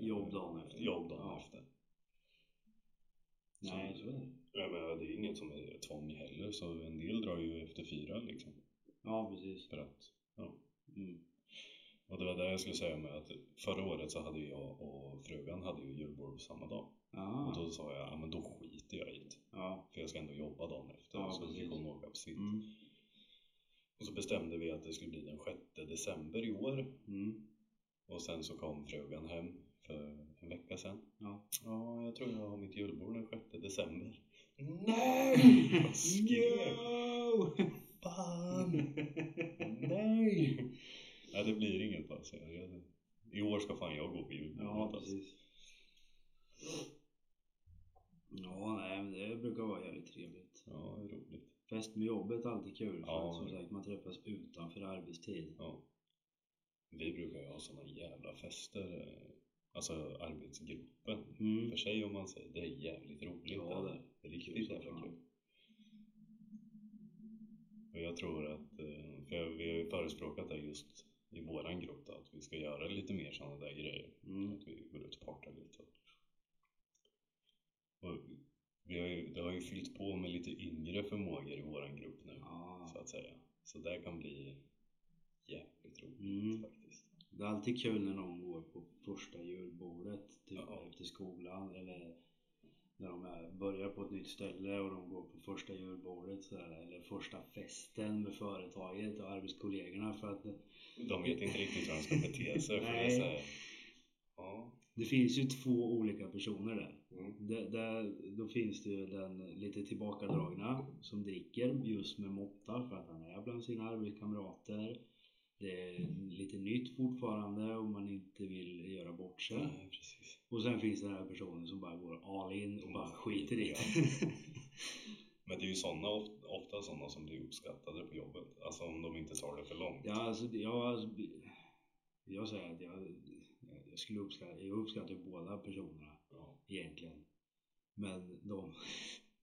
eh, Jobb dagen efter. Jobb dagen Ja. efter. Nej, Så- så är det. Jag menar, det är ju inget som är tvång heller så en del drar ju efter fyra liksom. Ja, precis. För att, ja. Mm. Och det var det jag skulle säga med att förra året så hade jag och frugan hade ju julbord på samma dag. Och Ah, då sa jag, ja men då skiter jag i det. ja. För jag ska ändå jobba dagen efter. Ja, så vi precis. fick hon åka på sitt. Mm. Och så bestämde vi att det skulle bli den 6 december i år. Mm. Och sen så kom frugan hem för en vecka sedan. Ja. Ja, jag tror jag har mitt julbord den 6 december. Nej! Jag [LAUGHS] skrek. No! Fan! Nej! Nej, det blir inget alltså. Jag, I år ska fan jag gå på julbordet Ja, alltså. precis. Ja, nej, men det brukar vara jävligt trevligt. Ja, det är roligt. Fest med jobbet är alltid kul. För Ja. att, som sagt, man träffas utanför arbetstid. Ja. Vi brukar ju ha såna jävla fester. eh, Alltså arbetsgruppen. Mm. För sig om man säger, det är jävligt roligt. Ja, alltså. det kul Riktigt som jävla fan. kul. Och jag tror att, eh, för jag, vi har ju förespråkat det just i våran grupp då, att vi ska göra lite mer sådana där grejer. Mm. Att vi går ut och partar lite. Och vi har ju, det har ju fyllt på med lite yngre förmågor i våran grupp nu, så Ja. att säga. Så det kan bli jävligt roligt Mm. faktiskt. Det är alltid kul när någon går på första julbordet, typ Ja. efter skolan eller när de är, börjar på ett nytt ställe och de går på första julbordet så här, eller första festen med företaget och arbetskollegorna för att det- De vet inte riktigt hur de ska bete sig. för det är Nej. så här, ja, det finns ju två olika personer där. mm, Det, där då finns det ju den lite tillbakadragna som dricker just med måtta för att han är bland sina arbetskamrater. Det är lite nytt fortfarande och man inte vill göra bort sig. nej, precis. Och sen finns den här personen som bara går all in och bara Mm. skiter i Ja. det. Men det är ju såna, of- ofta sådana som blir uppskattade på jobbet. Alltså om de inte tar det för långt. Ja, alltså, det- jag, alltså, det- jag säger att jag, jag skulle uppskatta, jag uppskattar ju båda personerna Ja. egentligen. Men de, [LAUGHS]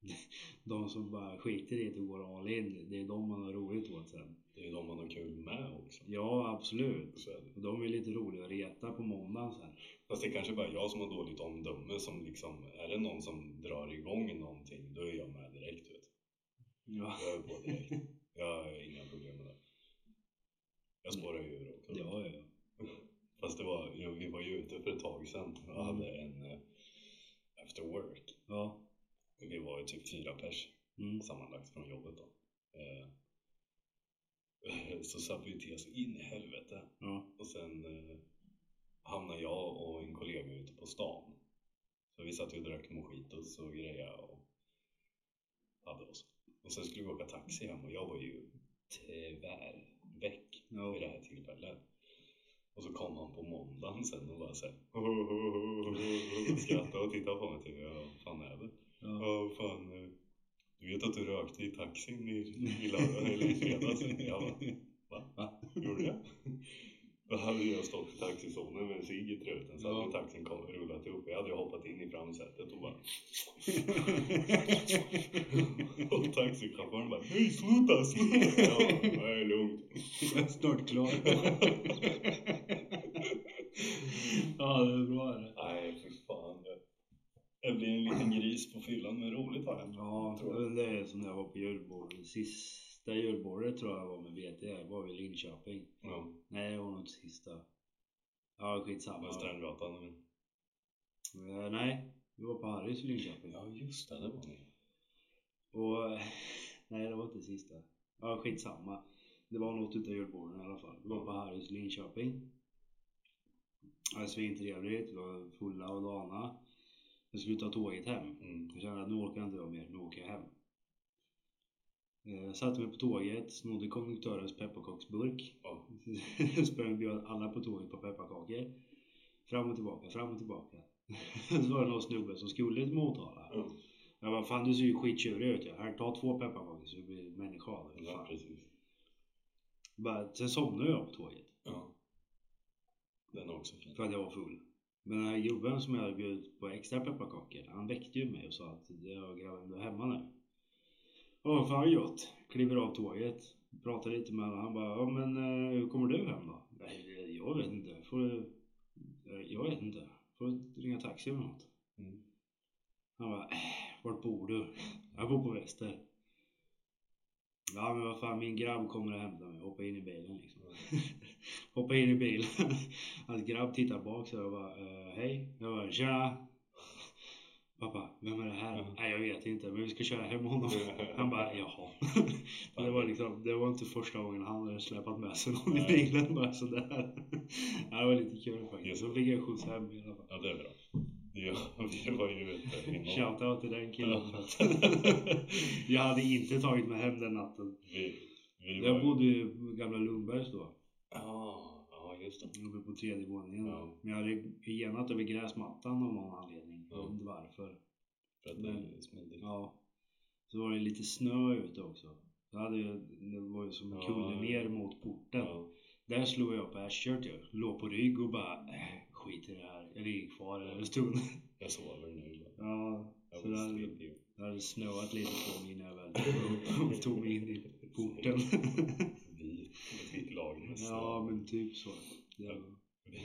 de som bara skiter i det och går all in, det är de man har roligt åt sen. Det är ju de man har kul med också. Ja, absolut. Så är det. Och de är lite roliga att reta på måndagen sen. Fast det är kanske bara jag som har dåligt omdöme som liksom, är det någon som drar igång någonting då är jag med direkt vet du. Ja, Jag är på direkt. [LAUGHS] Jag har inga problem med det. Jag spårar ju ur också. ja, ja. Fast det var, ja, vi var ju ute för ett tag sedan och Mm. hade en eh, after work. ja. Vi var ju typ fyra pers Mm. sammanlagt från jobbet då. Eh, [LAUGHS] Så satt vi till oss in i helvete ja. och sen eh, hamnade jag och en kollega ute på stan. Så vi satt ju och drack mojitos och grejer och hade oss. Och sen skulle vi åka taxi hem och jag var ju tvärväck vid det ja. här tillfället. Och så kom han på måndagen sen och bara såhär skrattade och tittade på mig typ, "Ja, vad fan är det? ja. Ja, vad fan. eh, Du vet att du rökte i taxin i, i lördag eller i fredags? Jag bara, va? Va? Gjorde jag? Då hade jag stått i taxizonen med en cigg i truten så Ja. hade taxin kom, rullat ihop. Jag hade ju hoppat in i framsätet och bara [LAUGHS] [LAUGHS] och taxichauffören bara Nej sluta, sluta! Jag bara, "Nej, lugnt. [LAUGHS] Snart klar. ja, det är bra det. Nej fy fan. Jag, jag blir en liten gris på fyllan men roligt var det. Ja, Tror jag. men det är som när jag var på julbordet. Sista julbordet tror jag var med VT. Jag var i Linköping. Ja, Nej, det var nog inte sista. Ja, skitsamma. Västerngatan. eller? Eh, Nej, vi var på Harrys i Linköping. Ja just det, det var ni. Och [LAUGHS] nej, det var inte sista. Ja, skitsamma. Det var något utav julborden i alla fall. Det var på Harrys i Linköping. Det var svintrevligt. Vi var fulla och dana. Jag skulle ta tåget hem. Mm. Jag kände att nu åker jag inte jag mer, nu åker jag hem. Eh, Jag satte mig på tåget, snodde konduktörens pepparkaksburk. [LAUGHS] Ja. Sprang och bjöd alla på tåget på pepparkakor. Fram och tillbaka, fram och tillbaka. [LAUGHS] Så var det någon snubbe som skulle till Motala. Ja. Jag bara, fan du ser ju skittjurig ut. Jag. Här, ta två pepparkakor så du blir människa av det. Ja, Fan. precis. Bara, sen somnade jag på tåget. Ja. Den är också [LAUGHS] fin. För att jag var full. Men den här gubben som jag hade bjudit på extra pepparkakor, han väckte ju mig och sa att jag grabben du är hemma nu. Åh fan vad gött. Kliver av tåget. Pratar lite med honom. Han bara, ja men eh, hur kommer du hem då? Nej, jag vet inte. Får du... eh, Jag vet inte. Får du ringa taxi eller något? Mm. Han bara, "Eh, vart bor du? Jag bor på väster. Ja men vad fan min grabb kommer och hämtar mig. Hoppa in i bilen liksom. [LAUGHS] Hoppa in i bilen. [LAUGHS] Hans grabb tittar bak så jag bara, "Eh, hej. Jag bara, tja. [LAUGHS] Pappa, vem är det här? Ja. Nej jag vet inte men vi ska köra hem honom. [LAUGHS] Han bara, jaha. Det var, liksom, det var inte första gången han hade släpat med sig någon i Nej. bilen bara sådär. [LAUGHS] Ja, Det var lite kul faktiskt. Så fick jag skjuts hem i alla fall. Ja, det är bra. [LAUGHS] Ja, vi var ju ute i morgon. Shoutout till den killen. Ja. jag hade inte tagit mig hem den natten. Vi, vi var Jag bodde ju på gamla Lundbergs då. Ja, ja, just det. Uppe på tredje våningen. Ja. Men jag hade genat över gräsmattan av någon anledning. Jag Ja. vet inte varför. För att det är smidigt. Ja. Så var det lite snö ute också. Jag hade, ju- det var ju som en Ja. kulle ner mot porten. Ja. Där slog jag på Ashert ju. Låg på rygg och bara äh, skit i det här. Jag ligger kvar där [LAUGHS] en stund. Jag sover nu. bara. Ja. Jag Så det var hade, [LAUGHS] sleepy. det hade snöat lite på mig när jag väl tog upp- [LAUGHS] tog mig in i porten. [LAUGHS] Vi, ett vitt lag nästan. Ja men typ så. Det var-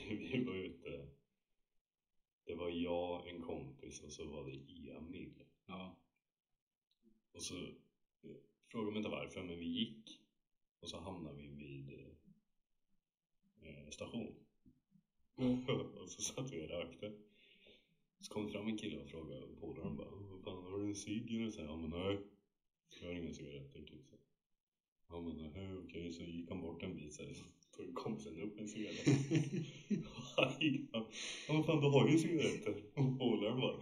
Vi, [LAUGHS] vi var ute. Det var jag, en kompis och så var det Emil. Ja. Och så, eh, fråga mig inte varför, men vi gick och så hamnade vi vid eh, eh, station. [LAUGHS] och så satt vi och rökte. Så kom det fram en kille och frågade polaren bara "Vad fan, har du en cigg eller? Så jag, Ja men nej, jag har inga cigaretter typ så. Ja men nej, okej, så gick han bort en bit så här. [LAUGHS] Tog kompisen upp en cigarett. Och han gick fram. Ja men fan du har ju cigaretter. Och polaren bara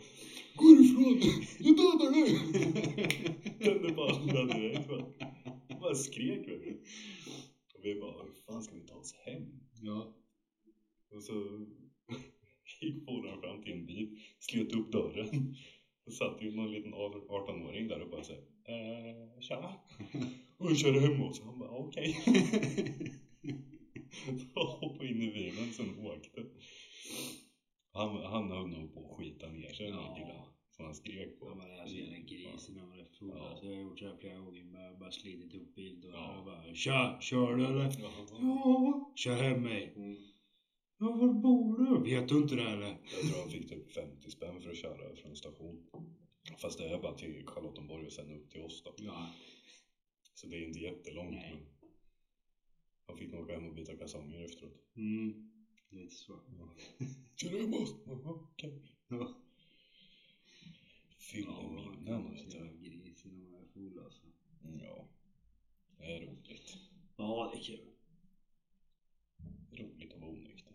Gå ifrån! Jag dödar dig! Tände på alla direkt va. Bara skrek vet du. Och vi bara, hur fan ska vi ta oss hem? Ja. Och så [LAUGHS] gick polaren fram till en bil, slet upp dörren. Och satt ju någon liten 18-åring där och bara såhär, eh, tjena. Och jag körde hemåt. Han bara, okej. [LAUGHS] Så han hoppade in i bilen sen åkte. Han, han höll nog på att skita ner sig den Ja. där killen. Som han skrek på. Ja, man är så jävla gris när man är full. Ja. Alltså, jag har gjort så här flera gånger. men Jag har bara slidit upp bildörrar Ja. och bara Tja, kör du eller? Ja. Ja, kör hem mig. Ja, var bor du? Vet du inte det eller? Jag tror han fick typ 50 spänn för att köra från station. Fast det är bara till Charlottenborg och sen upp till oss då. Ja, Så det är inte jättelångt. Nej. Men han fick nog åka hem och byta kalsonger efteråt. mm. lite så. [LAUGHS] Kör du hem oss? Jaha, okej. Ja. Fyller man minnen kan vara så vet jävla du. gris när man är full alltså. Ja. Det är roligt. Ja, det är kul. Roligt att vara onykter.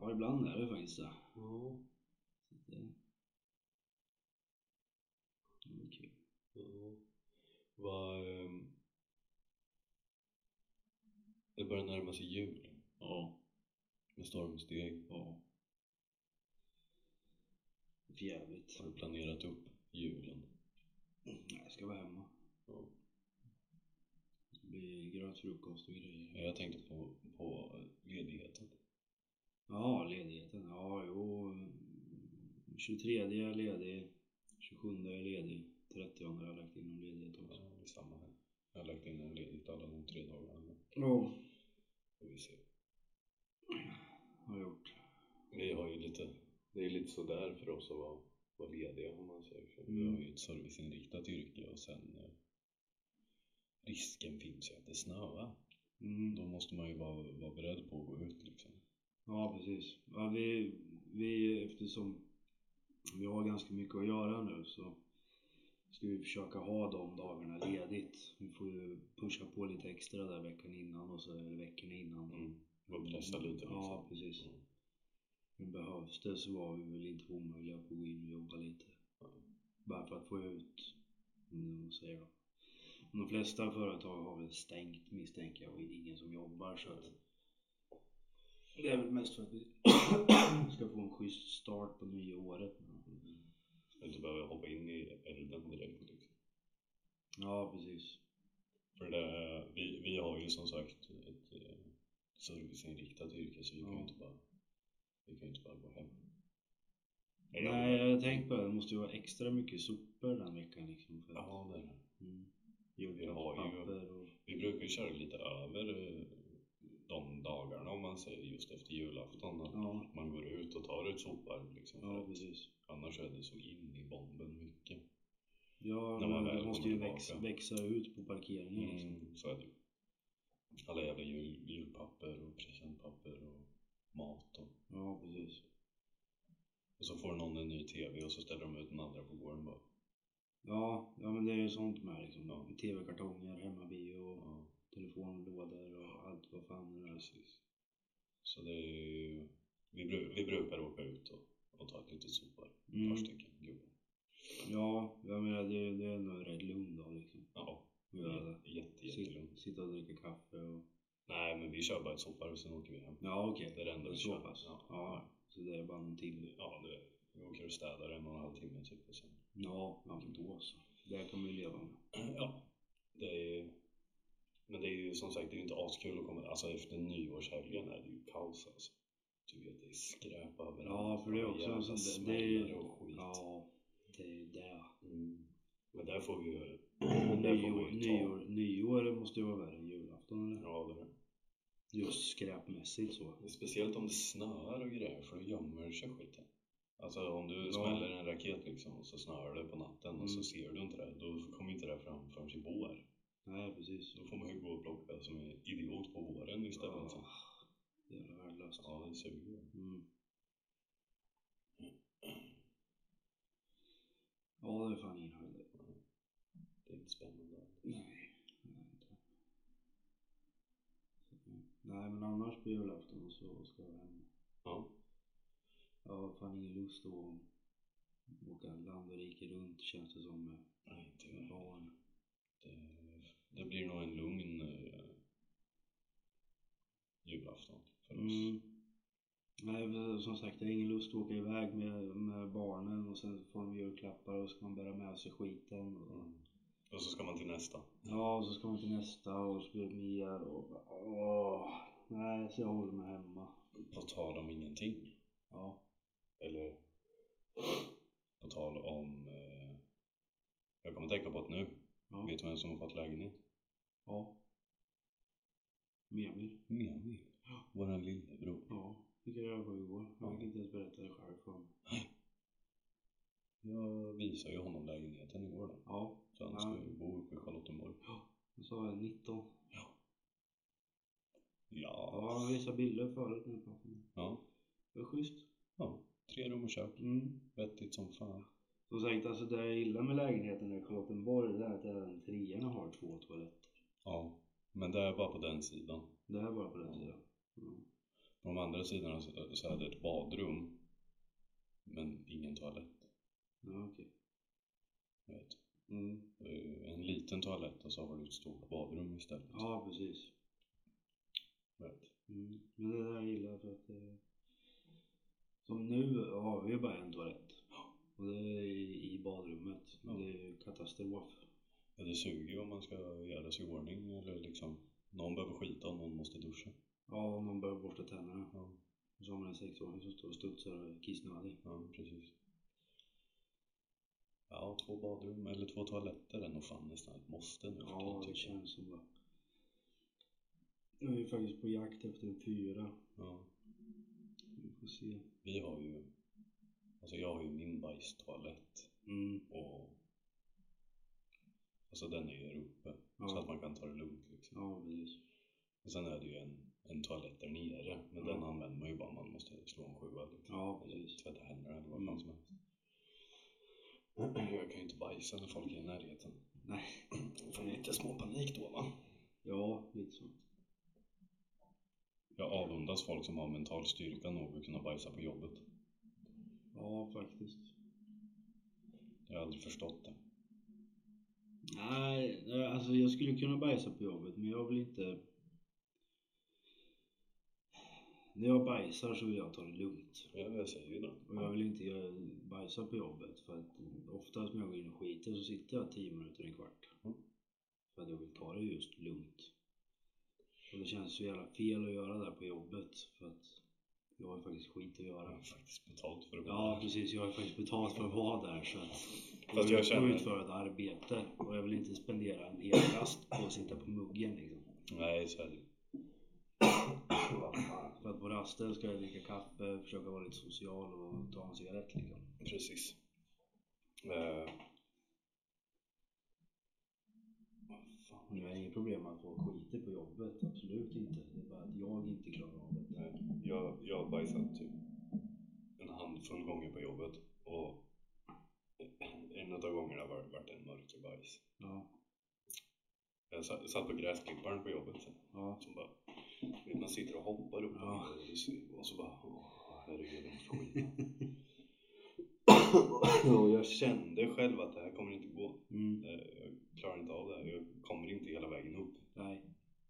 Ja, ibland är det faktiskt det. Ja. Så det... det är kul. Ja. Vad... ehm, Det börjar närma sig jul Ja. med stormsteg. Ja. För jävligt. Har du planerat upp julen? Nej, jag ska vara hemma. Ja. Det blir gröt frukost och grejer. Jag tänkte på, på ledigheten. Ja, ledigheten. Ja, jo. 23 är jag ledig. 27 är jag ledig. 30 har jag lagt in om ledighet Ja, också. det är samma här. Jag har lagt in en ledigt alla de tre dagarna. men Ja. Får vi se. Har jag gjort. Vi har ju lite... Det är lite sådär för oss att vara, vara lediga om man säger så. Vi Mm. har ju ett serviceinriktat yrke och sen eh, risken finns ju att det snöar. Mm. Då måste man ju vara, vara beredd på att gå ut liksom. Ja, precis. Ja, vi, vi, eftersom vi har ganska mycket att göra nu så ska vi försöka ha de dagarna ledigt. Vi får ju pusha på lite extra där veckan innan och så eller veckorna innan. Mm. Vara pressad lite liksom. Ja, precis. Mm. Men behövs det så var vi väl inte omöjliga på att gå in och jobba lite. Bara för att få ut, mm, vad säger de? De flesta företag har väl stängt misstänker jag och ingen som jobbar så att det är väl mest för att vi [COUGHS] ska få en schysst start på nya året. Men Inte behöva hoppa in i elden direkt liksom. Ja, precis. För det, vi, vi har ju som sagt ett eh, serviceinriktat yrke så vi kan Ja. ju inte bara, vi kan ju inte bara gå hem. Nej, jag har tänkt på det. Det måste ju vara extra mycket sopor den veckan liksom. För att, Ja, det är det. mm, Vi har ju- papper och... Vi brukar ju köra lite över eh, de dagarna om man säger just efter julafton. Att Ja, man går ut och tar ett sopar liksom. ja, För att precis. annars är det så in i bomben mycket. Ja, När man men det väl måste kommer ju växa, tillbaka. växa ut på parkeringen liksom. Mm, så är det ju. Alla jävla jul, julpapper och presentpapper och mat och Ja, precis. Och så får någon en ny TV och så ställer de ut den andra på gården bara. Ja, ja men det är ju sånt med liksom. Ja. Tv-kartonger, hemmabio, och Ja, telefonlådor och allt vad fan det är. precis. Så det är ju... Vi, bru- vi brukar åka ut och, och ta ett litet sopar. Mm. Ett par stycken gubbar. Ja, jag menar det, det är nog rätt lugn då liksom. Ja, Ja, jätte, jätte, Sitta, jättelugnt. sitta och dricka kaffe och... Nej, men vi kör bara ett sopar och sen åker vi hem. Ja, okej. Det är det enda vi Så kör. pass? Ja. Ja. Så det är bara någon timme. Ja, det, vi åker och städar en och en halv timme typ och sen... Ja, ja men då så. Det här kan man ju leva med. Ja, det är... Men det är ju som sagt, det är ju inte askul att komma... Alltså efter nyårshelgen är det ju kaos alltså. Du vet, det är skräp överallt. Ja, för det är också Jävla en sån där- det är ju- smällare och skit. Ja, det är det. Mm. Men där får vi [CLEARS THROAT] ju... där får Nyår, man ju ta... nyår, nyår måste ju vara värre än julafton eller? Ja, det är Just skräpmässigt så. det. Speciellt om det snöar och grejer, för då gömmer sig skiten. Alltså om du Ja. smäller en raket liksom och så snöar det på natten och Mm. så ser du inte det, då kommer inte det fram förrän i vår. Nej, precis. Då får man ju gå och plocka som en idiot på våren istället. Ja, Ja, jävla värdelöst. ja det suger. Mm. Ja, det är fan ingen höjdare. Det är inte spännande. Nej. det är inte. Nej, men annars på julafton så ska jag hem. Ja. Jag har fan ingen lust att åka land och rike runt känns det som med- Nej, inte med jag. barn. det, det blir nog en lugn eh, julafton för oss. Mm. Nej, som sagt, jag har ingen lust att åka iväg med, med barnen och sen får de julklappar och så ska man bära med sig skiten. Och, Mm. Och så ska man till nästa. Ja, och så ska man till nästa och så blir det mer och... Åh, nej, så jag håller mig hemma. På tal om ingenting. Ja. Eller på tal om... Eh, jag kommer tänka på det nu. Ja. Vet du vem som har fått lägenhet? Ja. Memir. Memi. Våran lillebror. Ja, fick jag reda på igår. Jag fick inte ens berätta det själv för honom. Jag visade ju honom lägenheten igår då. Ja, Så han Ja. ska ju bo uppe i Charlottenborg. och så har jag 19. Ja. Ja, jag visade bilder förut nu. på honom. ja. Det var schysst. Tre rum och kök. Mm. Vettigt som fan. Som sagt, alltså det jag gillar med lägenheten i Charlottenborg det är att även treorna har två toaletter. Ja. Men det är bara på den sidan. Det här var på den sidan. Mm. På de andra sidorna så så är det ett badrum. Men ingen toalett. Ja, okej. Jag vet. Mm. Det är ju En liten toalett och så har du ett stort badrum istället. Ja, precis. Jag Vet. Mm. Men det är det jag gillar för att eh, som nu har vi ju bara en toalett. Och det är i i badrummet. Ja. Det är ju katastrof. Ja, det suger ju om man ska göra sig i ordning eller liksom Någon behöver skita och någon måste duscha. Ja, om någon behöver borsta tänderna. Ja, Och så har man en sexåring som står och studsar och är kissnödig. ja precis. Ja, två badrum eller två toaletter är nog fan nästan ett måste nu för Ja, tiden, det tycker jag. känns som det. Jag är ju faktiskt på jakt efter en fyra. Ja. Vi får se. Vi har ju Alltså jag har ju min bajstoalett Mm, och Alltså den är ju där uppe så att ja. man kan ta det lugnt liksom. ja, precis. Och sen är det ju en, en toalett där nere men den Ja. använder man ju bara om man måste slå en sjua liksom. Ja, Eller precis. tvätta händerna eller vad Mm. fan som helst. [CLEARS THROAT] Jag kan ju inte bajsa när folk är i närheten. Nej. Jag får lite småpanik då va? Ja, lite så. Jag avundas folk som har mental styrka nog att kunna bajsa på jobbet. Ja, faktiskt. Jag har aldrig förstått det. Nej, nej, alltså jag skulle kunna bajsa på jobbet men jag vill inte... När jag bajsar så vill jag ta det lugnt. Ja, Jag säger ju det. Och jag vill inte göra- bajsa på jobbet för att oftast när jag går in och skiter så sitter jag 10 minuter, en kvart. Mm. För att jag vill ta det just lugnt. Och det känns så jävla fel att göra det här på jobbet för att jag har ju faktiskt skit att Jag göra. har faktiskt betalt för att Ja precis, jag har ju faktiskt betalt för att vara där så att jag och känner- utföra ett arbete och jag vill inte spendera en hel rast på att sitta på muggen liksom. Nej, så är det ju. För att på rasten ska jag dricka kaffe, försöka vara lite social och ta en cigarett liksom. Precis. Eh, Fan, Jag har inget problem med att folk skiter på jobbet, absolut inte. Det är bara att jag inte klarar av det. nej. Eh, Jag, jag har bajsat typ en handfull gånger på jobbet och en av gångerna var det en mörkerbajs. Ja, Jag sa- satt på gräsklipparen på jobbet sen. ja, Som bara, vet, man sitter och hoppar upp och Ja. ner och så- och så bara, åh herregud, jag får skit. och jag kände själv att det här kommer inte gå. mm, Eh, Jag klarar inte av det här. Jag kommer inte hela vägen upp nej,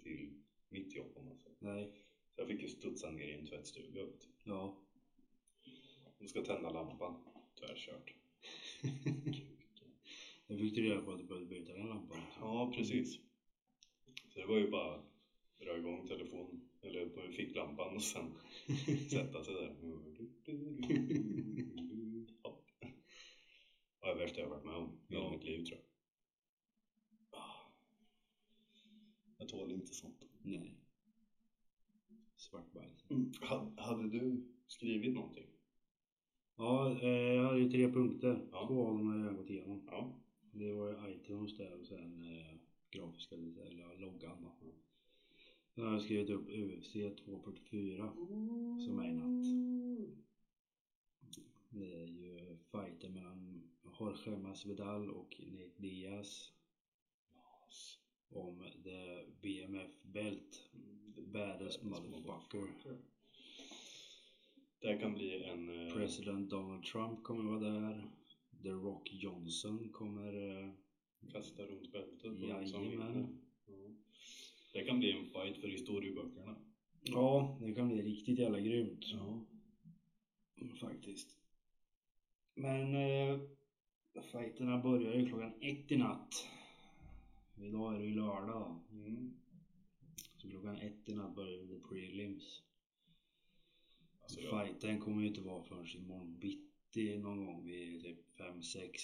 till mitt jobb om man säger. nej, Så jag fick ju studsa ner i en tvättstuga. vet du. ja. [LAUGHS] De ska tända lampan. Tvärkört. Jag fick du reda på att du behövde byta den lampan. Ja, precis. Mm. Så det var ju bara att dra igång telefonen, eller på ficklampan och [LAUGHS] sen sätta sig där. Mm. Ja. Det var det värsta jag varit med om i hela Ja. mitt liv tror jag. Jag tål inte sånt. [LAUGHS] Nej. Svartbajs. Ha- Hade du skrivit någonting? Ja, eh, jag hade ju tre punkter. Ja. Två av dem har jag redan gått igenom. Ja. Det var ju iTunes där och sen eh, grafiska, eller ja, loggan då. Sen har jag skrivit upp UFC 244 som är i natt. Det är ju fighten mellan Jorge Masvidal och Nate Diaz om det BMF bält. Baddest motherfucker. Det här kan bli en... eh, President Donald Trump kommer vara där. The Rock Johnson kommer... eh, Kasta runt bältet på någon som vinner. Jajamän. Ja. Det kan bli en fight för historieböckerna. Ja, det kan bli riktigt jävla grymt. Ja. Faktiskt. Men eh, fighterna börjar ju klockan ett i natt. Idag är det ju lördag. Mm. Så klockan ett i natt börjar ju the prelims. Alltså jag, Fighten kommer ju inte vara förrän imorgon bitti någon gång vid typ fem sex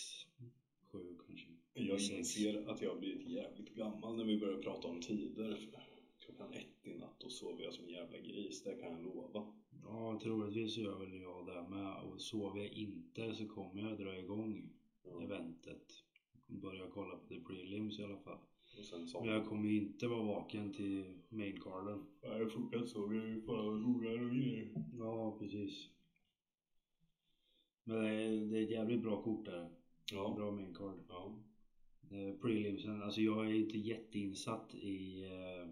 sju kanske. jag Sex. inser att jag har blivit jävligt gammal när vi börjar prata om tider. För Klockan ett i natt och sover jag som en jävla gris, det kan jag lova. Ja, troligtvis gör väl jag det med. Och sover jag inte så kommer jag dra igång Ja. eventet. Börja kolla på the prelims i alla fall. Och sen Men somnar jag kommer ju inte vara vaken till maincarden. jag. Fortfarande sover jag ju fan roligare och grejer. Ja, precis. Men det är, det är ett jävligt bra kort där. Ja. Bra maincard. ja. Eh, Prelimsen, alltså jag är inte jätteinsatt i eh,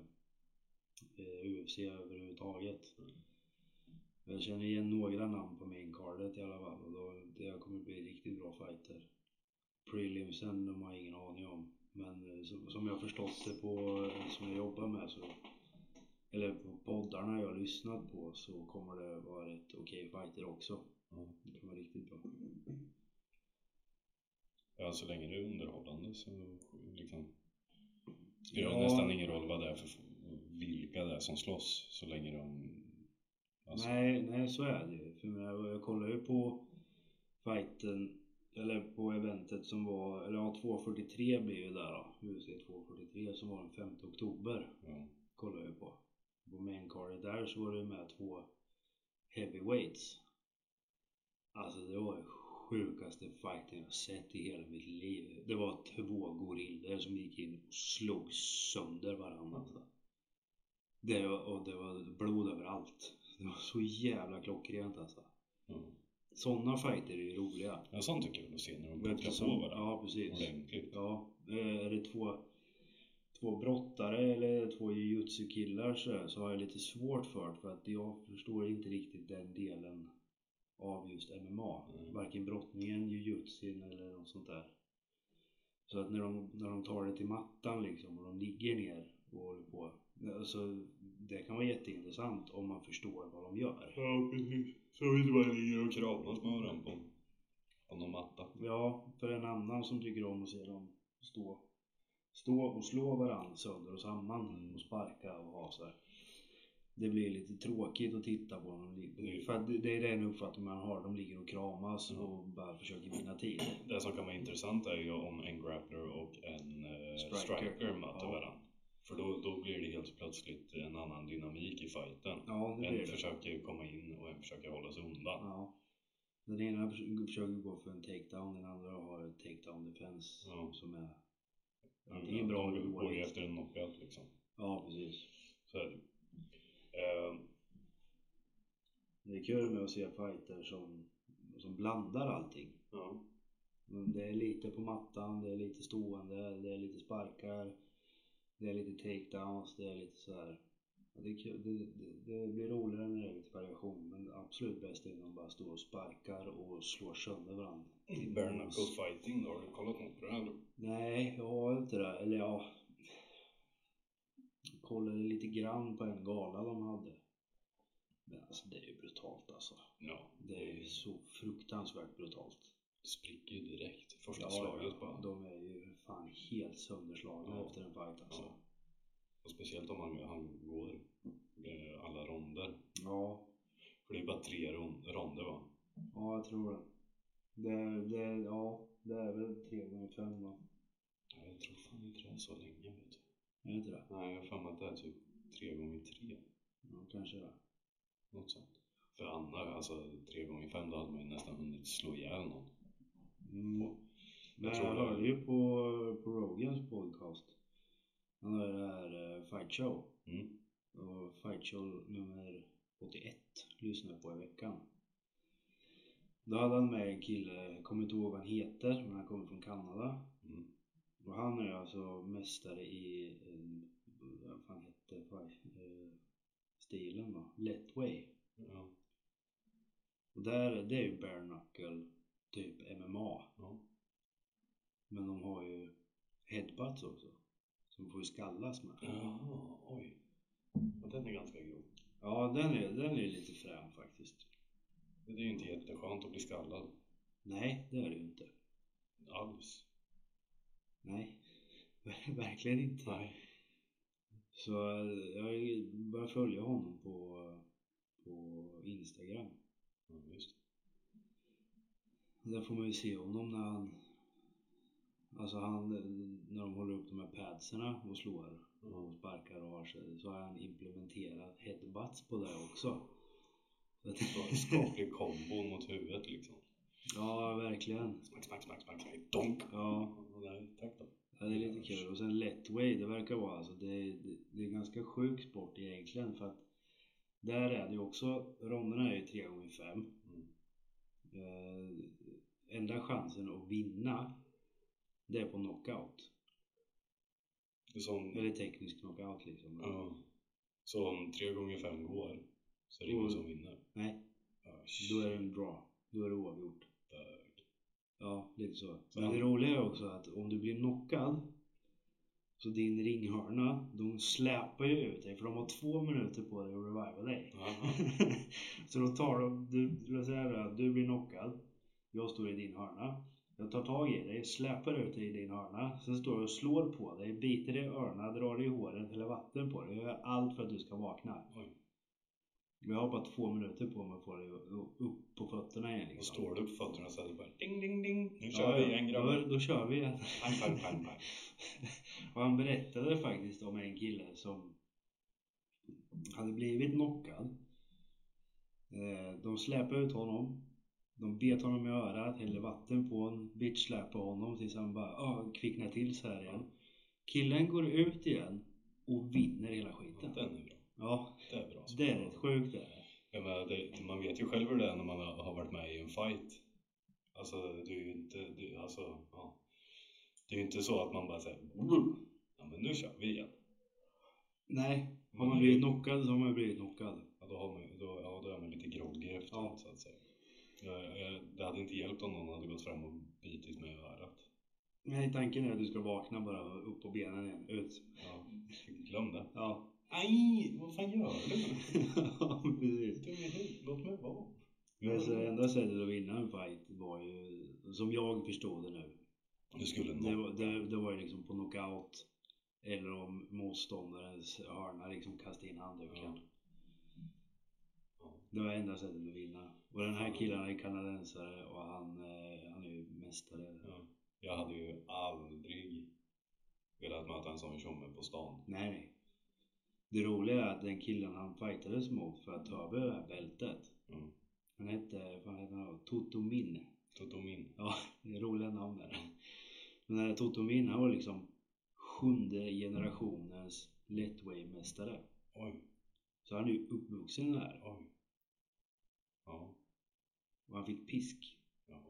eh, UFC överhuvudtaget. Men jag känner igen några namn på maincardet i alla fall och då, det kommer bli riktigt bra fighter. Prelimsen de har jag ingen aning om. Men eh, som, som jag förstått det på, eh, som jag jobbar med så, eller på poddarna jag har lyssnat på så kommer det vara rätt okej fighter också. Ja. Det kan vara riktigt bra. Ja, så länge det är underhållande så liksom. Det spelar Ja. nästan ingen roll vad det är för vilka det är som slåss så länge de... Alltså, Nej, nej så är det ju. För jag, menar, jag kollade ju på fighten, eller på eventet som var, eller ja 243 blev ju där då. UFC 243 som var den 5 oktober. ja. Kollade jag på. På maincardet där så var det ju med två heavyweights. Alltså det var den sjukaste fighten jag sett i hela mitt liv. Det var två gorillor som gick in och slog sönder varandra. Alltså. Det var, och det var blod överallt. Det var så jävla klockrent alltså. Ja. Sådana fighter är ju roliga. ja, sånt är kul att se när de Men puckar eftersom- på varandra Ja, precis. ordentligt. Ja, eh, är det två, två brottare eller två jujutsu-killar så, här, så har jag lite svårt för det. För att jag förstår inte riktigt den delen av just MMA. Mm. Varken brottningen, jujutsin eller något sånt där. Så att när de, när de tar det till mattan liksom och de ligger ner och håller på. Alltså, det kan vara jätteintressant om man förstår vad de gör. Ja, precis. Så vi inte bara ligger och kramas med varandra på, på någon matta. Ja, för en annan som tycker om att se dem stå, stå och slå varandra sönder och samman och sparka och ha så här. Det blir lite tråkigt att titta på dem. För att det- det är den uppfattning man har. De ligger och kramas och bara försöker vinna tid. Det som kan vara intressant är ju om en grappler och en eh, Striker. striker. möter Ja. varandra. För då, då blir det helt plötsligt en annan dynamik i fighten. Ja, det En blir det. försöker komma in och en försöker hålla sig undan. Ja. Den ena förs- försöker gå för en takedown, den andra har ett takedown defense Ja. som är antingen bra eller De går ju dåligt. efter en knockout liksom. Ja, precis. Så är det ju. Eh, Det är kul med att se fighter som, som blandar allting. ja. Mm, Det är lite på mattan, det är lite stående, det är lite sparkar, det är lite takedowns, det är lite så här. Ja, Det, är kul. det, det, det blir roligare när det är lite variation, men det absolut bäst är när de bara står och sparkar och slår sönder varandra. Bare knuckle fighting då, har du kollat något på det här? Nej, jag har inte det. Eller ja... Jag kollade lite grann på en gala de hade. Men alltså det är ju brutalt alltså. Ja, Det är ju så fruktansvärt brutalt. spricker ju direkt. Första Ja, slaget ja. bara. De är ju fan helt sönderslagna Ja. efter en fight alltså. Ja. Och speciellt om han, han går eh, alla ronder. Ja, För det är bara tre ron- ronder va? ja jag tror det. Det, är- det, är- ja, det är väl tre gånger fem då. Nej, jag tror fan inte det är så länge vet du. Är det inte det? Nej, jag har för mig att det är typ tre gånger tre. Ja, kanske det. Något sånt. För annars, alltså tre gånger fem, då hade man ju nästan hunnit slå ihjäl någon. Mm. Men jag, tror det. hörde ju på, på Rogans podcast. Han har ju det här eh, Fight Show. Mm. Och Fight Show nummer 81 lyssnade jag på i veckan. Då hade han med en kille, jag kommer inte ihåg vad han heter, men han kommer från Kanada. Mm. Och han är alltså mästare i, eh, vad fan hette fight- eh, stilen då? Letway. Ja. Och där, det är ju bare knuckle, typ MMA. Ja. Men de har ju headbutts också. Som får ju skallas med. ja, oj. Ja, den är ganska grov. Ja, den är, den är lite frän faktiskt. Det är ju inte jätteskönt att bli skallad Nej, det är det ju inte. alls. Nej, [LAUGHS] verkligen inte. Nej. Så eh, jag började följa honom på, på Instagram. Ja, just. Där får man ju se honom när han Alltså han, när de håller upp de här padserna och slår och sparkar och har sig så har han implementerat headbutts på det också. Så att- Det var en skaplig kombo mot huvudet liksom. [LAUGHS] ja, verkligen. Smack, smack, smack, smack, smack, donk! Ja, Nej, tack då. ja, det är lite kul. Och sen letway, det verkar vara alltså, det, är- det, det är en ganska sjuk sport egentligen för att där är det ju också, ronderna är ju 3 gånger 5 Mm. eh, Enda chansen att vinna det är på knockout. Det är som, Eller teknisk knockout liksom. ja. Så om tre gånger fem går så är det ingen Mm. som vinner. Nej, Ja, då är det en bra. Då är det oavgjort. shit. Ja, lite så. Så Men han- det roliga är också att om du blir knockad så din ringhörna, de släpar ju ut dig för de har två minuter på dig att reviva dig. [LAUGHS] Jaha. så då tar de, du, låt säga det, att du blir knockad, jag står i din hörna. Jag tar tag i dig, släpar ut dig i din hörna, sen står jag och slår på dig, biter dig i öronen, drar dig i håret, häller vatten på dig. Jag gör allt för att du ska vakna. Oj. Men jag har bara två minuter på mig att få dig upp på fötterna igen. Och Liksom. står du på fötterna så är det bara ding, ding, ding. Nu Ja, kör vi ja. igen grabbar. Då, då kör vi igen. Pang, pang, pang, pang. [LAUGHS] Och han berättade faktiskt om en kille som hade blivit knockad. Eh, De släpade ut honom. De bet honom i örat, hällde vatten på honom, bitchsläpade honom tills han bara "Ah, kvicknade till så här igen. Killen går ut igen och vinner hela Ja, skiten. Den är bra. Ja, Det är bra. det är rätt sjukt det. Jag menar, det, man vet ju själv hur det är när man har har varit med i en fight. Alltså, det är ju inte, det, alltså, ja. Det är ju inte så att man bara säger ja men nu kör vi igen. Nej, har Man man är- blivit knockad så har man ju blivit knockad. Ja, då, har man, då, ja, då är man lite groggy efteråt Ja. så att säga. Jag, jag, det hade inte hjälpt om någon hade gått fram och bitit mig i örat. Nej, tanken är att du ska vakna bara upp på benen igen, ut. Ja, glöm det. Ja, [LAUGHS] Aj! Vad fan gör du? ja precis. Dum i huvudet, Låt mig vara. Men så enda sättet att vinna en fight var ju, som jag förstod det nu, Du skulle det nå. var, det, det var ju liksom på knockout eller om motståndarens hörna liksom kastade in handduken. Ja. Det var enda sättet att vinna. Och den här killen är kanadensare och han, eh, han är ju mästare. Ja. Jag hade ju aldrig velat möta en sån tjomme på stan. Nej, nej. Det roliga är att den killen han fightades mot för att ta över det här bältet. Mm. Han hette, vad hette han då? Totomin. Totomin. Ja, det är roliga namn där. Men den här Totomin, han var liksom sjunde generationens letway-mästare. Oj, Så han är ju uppvuxen där. oj. Ja, Och han fick pisk. ja.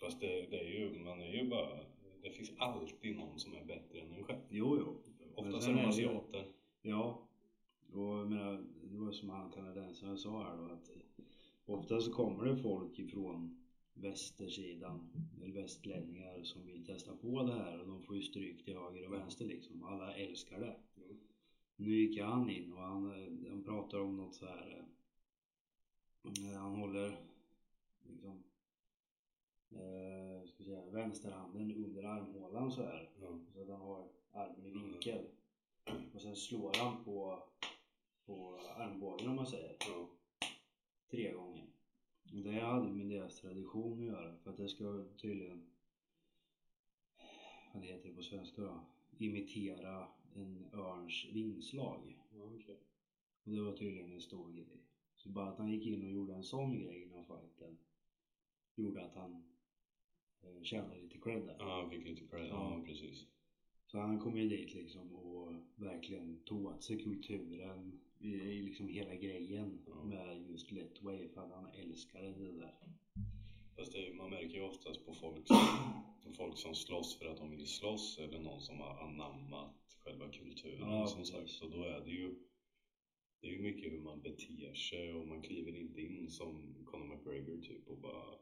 Fast det, det är ju, man är ju bara, det finns alltid någon som är bättre än en själv. Jo, jo. Oftast är sen de är det ju- asiater. Ja. Och jag menar, det var som han kanadensaren sa här då att ofta så kommer det folk ifrån västersidan, eller västlänningar som vill testa på det här och de får ju stryk till höger och vänster liksom. Alla älskar det. Mm. Nu gick han in och han, eh, han pratar om något så här eh, eh, han håller liksom eh, ska vi säga, vänsterhanden under armhålan så här Ja. så att han har armen i vinkel. Och sen slår han på, på armbågen om man säger. Ja. Tre gånger. Och Det hade med deras tradition att göra. För att det ska tydligen, vad heter det på svenska då? Imitera en örns vingslag. Ja, okej. Och det var tydligen en stor grej. Så bara att han gick in och gjorde en sån grej innan fighten gjorde att han eh, tjänade lite cred där. Ja, jag fick lite cred. Ja, Ja. precis. Så han kom ju dit liksom och verkligen tog åt sig kulturen i i liksom hela grejen Ja. med just Letway för att han älskade det där. Fast det, är- man märker ju oftast på folk som, folk som slåss för att de vill slåss eller någon som har anammat själva kulturen Ja, som precis. sagt. Och då är det ju det är ju mycket hur man beter sig och man kliver inte in som Conor McGregor typ och bara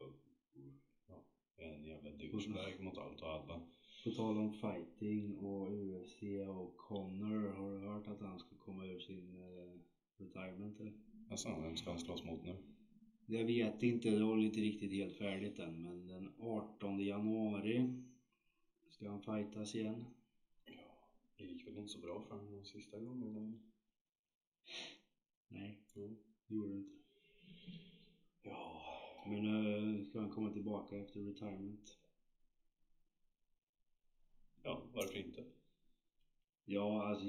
ja, är en jävla douchebag mot allt och alla. På tal om fighting och UFC och Connor, har du hört att han ska komma ur sin eh, retirement eller? Jaså, vem ska han slåss mot nu? Jag vet inte, det håller inte riktigt helt färdigt än men den 18 januari ska han fightas igen. Ja, det gick väl inte så bra för honom de sista gångerna. Nej, Mm. det gjorde det inte. Ja, Men nu ska han komma tillbaka efter retirement. ja, varför inte? Ja, alltså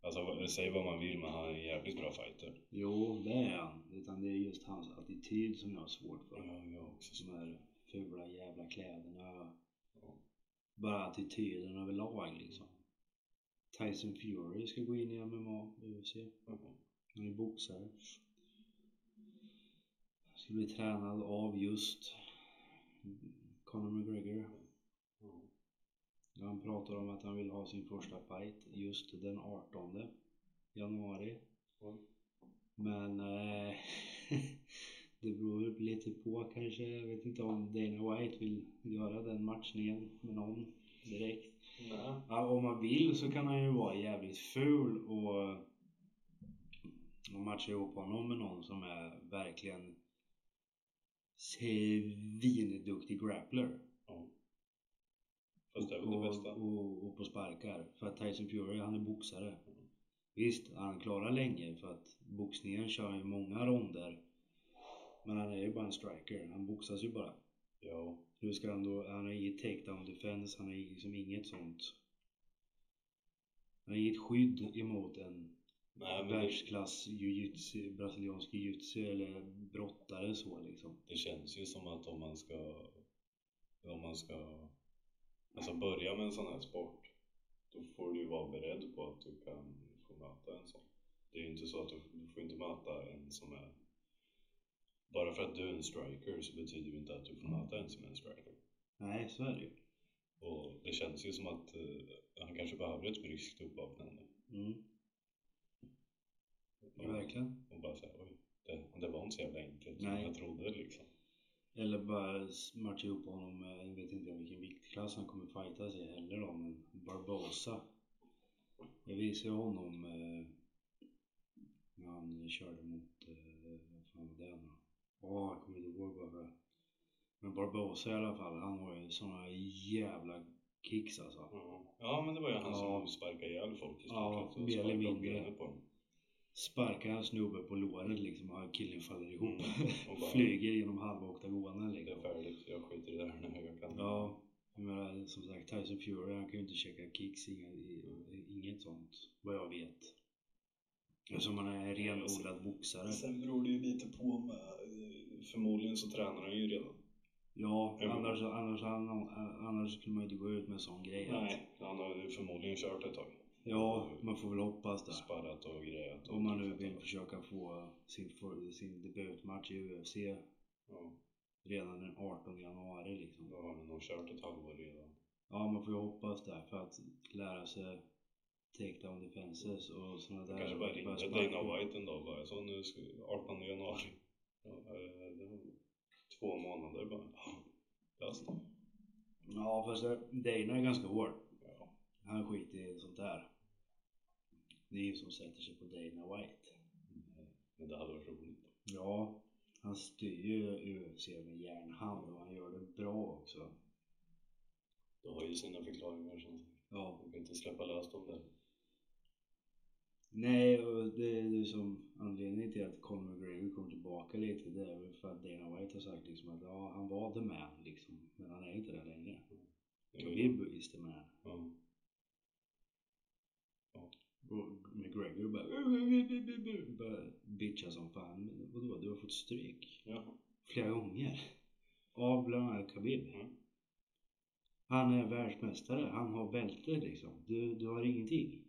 Alltså vad- säg vad man vill men han är en jävligt bra fighter. jo, det är han. Utan det är just hans attityd som jag har svårt för. Ja, jag också. De här fula jävla kläderna. Ja. Bara attityden överlag liksom. Tyson Fury ska gå in i MMA, UFC. Mhm. Han är boxare. Ska bli tränad av just Conor McGregor. Ja. Han pratar om att han vill ha sin första fight just den 18 januari. Oj. Men eh, [LAUGHS] det beror väl lite på kanske. Jag vet inte om Dana White vill göra den matchningen med någon direkt. Nej. Ja, om man vill så kan han ju vara jävligt ful och, och matcha ihop honom med någon som är verkligen svinduktig grappler. Fast det är väl det bästa. Och, och, och på sparkar. För att Tyson Fury, han är boxare. Visst, han klarar länge för att boxningen kör ju många ronder. Men han är ju bara en striker, han boxas ju bara. Ja. Hur ska han då, han har inget takedown defense, han har liksom inget sånt. Han har inget skydd emot en Nej men det, världsklass jiu-jitsu, brasiliansk jiu-jitsu eller brottare så liksom. det känns ju som att om man ska om man ska alltså börja med en sån här sport då får du ju vara beredd på att du kan få möta en sån. Det är ju inte så att du, du får inte möta en som är bara för att du är en striker så betyder det inte att du får möta en som är en striker. Nej, så är det ju. Och det känns ju som att eh, han kanske behöver ett bryskt uppvaknande. Mm, Och- Verkligen. Och bara säga oj, det, det var inte så jävla enkelt som Nej. jag trodde liksom. Eller bara matcha ihop honom med, jag vet inte vilken viktklass han kommer fightas i heller då, men Barbosa. Jag visade ju honom eh, när han körde mot, eh, vad fan var det nu Åh, jag kommer inte ihåg varför. det- Men Barbosa i alla fall, han har ju såna jävla kicks alltså. Ja. Ja men det var ju han Ja. som sparkade ihjäl folk i stort Ja, sett och mer eller sparkade upp mindre. benet på dem. Sparkar en snubbe på låret liksom och killen faller ihop. Mm, Och bara, [LAUGHS] Flyger genom halva oktagonen det är liksom. färdigt, jag skiter i det här när jag kan. Ja, jag menar som sagt Tyson Fury han kan ju inte checka kicks, inga, i, inget sånt vad jag vet. Eftersom han är en renodlad boxare. Sen beror det ju lite på med, eh, förmodligen så tränar han ju redan. Ja, Mm. annars, annars, annars, annars skulle man ju inte gå ut med en sån grej. att- Nej, han har ju förmodligen kört ett tag. Ja, man får väl hoppas det. Sparrat och grejat. och Om man nu fixat vill och- försöka få sin, för- sin debutmatch i UFC Ja, redan den 18 januari liksom. då har han nog kört ett halvår redan. Ja, man får ju hoppas det för att lära sig takedown defenses och sådana där. Jag kanske bara börja ringde sparka. Dana White en dag och bara så nu ska 18 januari. Ja, eh, det var två månader bara. Löst det. Ja, fast det- Dana är ganska hård. Ja. Han skiter i sånt där. Det är ingen som sätter sig på Dana White. Men det hade varit roligt. Ja, han styr ju UFC med järnhand och han gör det bra också. Det har ju sina förklaringar som sagt. Ja. Man kan inte släppa löst dem där. Nej, och det är ju som anledningen till att Conor McGregor kom tillbaka lite det är väl för att Dana White har sagt liksom att ja, han var the man liksom. Men han är inte det längre. Khabib is the man. Ja. Och McGregor bara, "Uh, bara bitchar som fan. Men Vadå, du har fått stryk? ja. flera gånger. Av bland annat Khabib. Mm. Han är världsmästare, han har bälte liksom. Du, du har ingenting.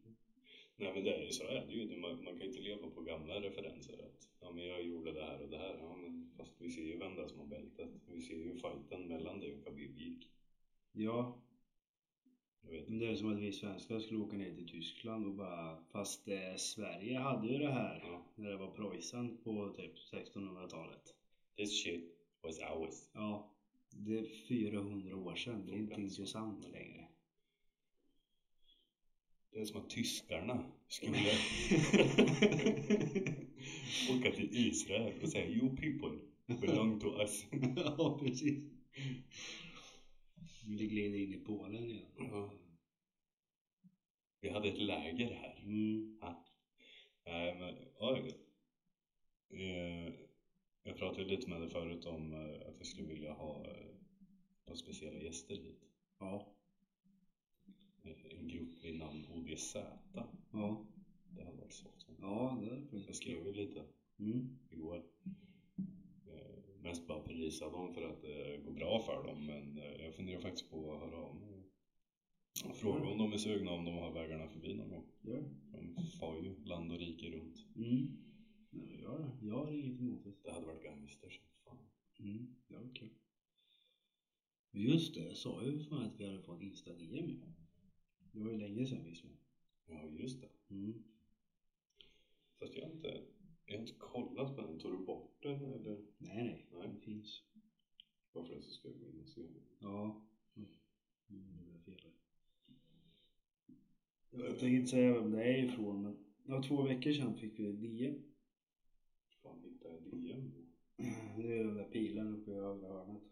Nej men det är ju så är det ju. Det- Man, man kan ju inte leva på gamla referenser. Att, ja men jag gjorde det här och det här. Ja, men, fast vi ser ju vem det är som har bältet. Vi ser ju hur fighten mellan dig och Khabib gick. Ja, Jag vet men inte. det är som att vi svenskar skulle åka ner till Tyskland och bara Fast eh, Sverige hade ju det här Ja. när det var Preussen på typ 1600-talet. This shit was ours. Ja, det är 400 år sedan. Det är inte Fortfarande så. intressant längre. [LAUGHS] Det är som att tyskarna skulle [LAUGHS] Åka till Israel och säga You people belong to us. [LAUGHS] [LAUGHS] ja, precis. Vi glider in i Polen igen. Ja. Vi hade ett läger här. Mm. Nej Äh, men, ja, eh, jag pratade lite med dig förut om eh, att jag skulle vilja ha eh, några speciella gäster hit. Ja. Eh, En grupp vid namn ODZ. Ja. Det hade varit svårt. Ja, det är faktiskt Jag skrev ju lite Mm. igår. Eh, mest bara prisa dem för att det går bra för dem men eh, jag funderar faktiskt på att höra av mig och fråga om de är sugna om de har vägarna förbi någon gång. Gör De far ju land och rike runt. det. Mm. Nej, men gör det. Jag har inget emot det. Det hade varit gangster som fan. Mm. Ja, okej. Just det, jag sa ju fan att vi hade fått Insta-DM ju. Det var ju länge sedan visserligen. Ja just det. Mm. Fast jag har inte, jag har inte kollat på den. Tog du bort den eller? Nej, nej. Nej. Det finns. Varför det så ska jag minnas igen. Ja. Mm. Mm, det var fel. Jag tänker inte säga vem det är ifrån men ja, två veckor sedan fick vi ett E DM. Fan hittade jag DM? då? Det Mm, är den där pilen uppe i högra hörnet.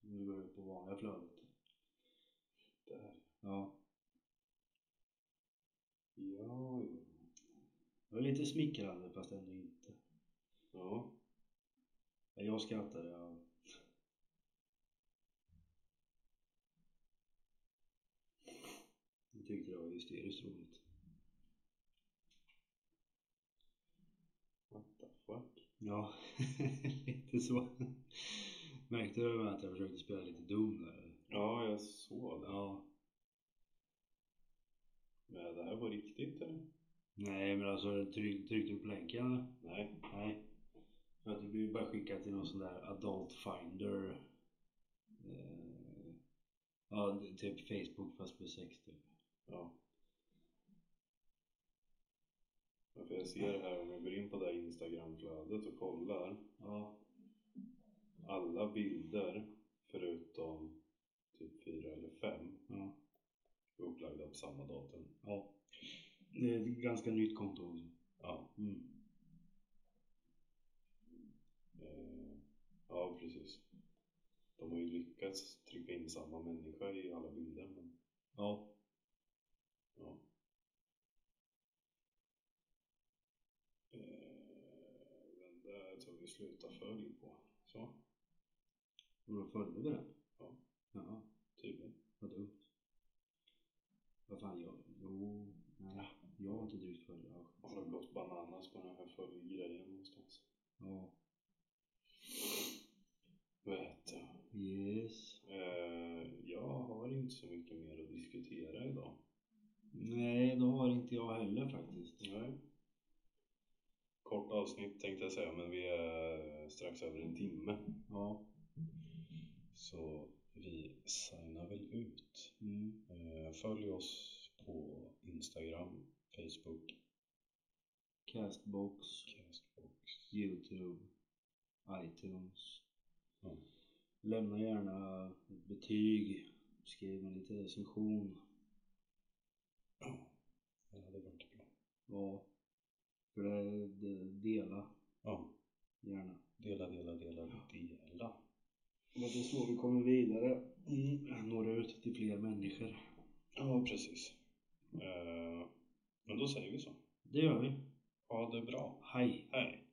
Nu går ut på vanliga flödet. Där. Ja. Ja, ja. Det var lite smickrande fast ändå inte. Ja. Ja, Jag skrattade. Ja. Jag tyckte det var hysteriskt roligt. What the fuck? Ja, [LAUGHS] lite så. Märkte du att jag försökte spela lite dum där? Ja, jag såg den. Ja. Men det här var riktigt eller? Nej men alltså tryck, tryckte du på länken eller? Nej. Nej. För att du blir bara skickad till någon sån där Adult Finder. Eh, ja, det- typ Facebook fast för sex typ. Ja. Ja, för jag ser det här om jag går in på det här Instagramflödet och kollar. Ja. Alla bilder förutom typ fyra eller fem Ja. är upplagda på samma datum. ja. Det är ett ganska nytt konto också. Ja. Mm. Eh, ja, precis. De har ju lyckats trycka in samma människa i alla bilder. Men, Ja. ja. Eh, den där tar vi sluta följ på. Så, Och då följde vi den? Ja. Ja, tydligen. vad dumt. Vad fan, jag... Jo, nej. Jag har inte drygt följd. Ja. Har det gått bananas på den här följgrejen någonstans? ja. Vet jag. Yes. Eh, jag har inte så mycket mer att diskutera idag. Nej, det har inte jag heller faktiskt. Nej. Kort avsnitt tänkte jag säga, men vi är strax över en timme. Ja. Så vi signar väl ut. Mm. Eh, Följ oss på Instagram, Facebook, Castbox. Castbox. Youtube, iTunes. Ja. Lämna gärna ett betyg, skriv en liten recension. Ja, det hade varit bra. Ja. För det, det, dela Ja, gärna. dela, dela, dela, dela. Men det är så vi kommer vidare. Mm. Når ut till fler människor. Ja, precis. Eh, Men då säger vi så. Det gör vi. Ha det bra. Hej! Hej!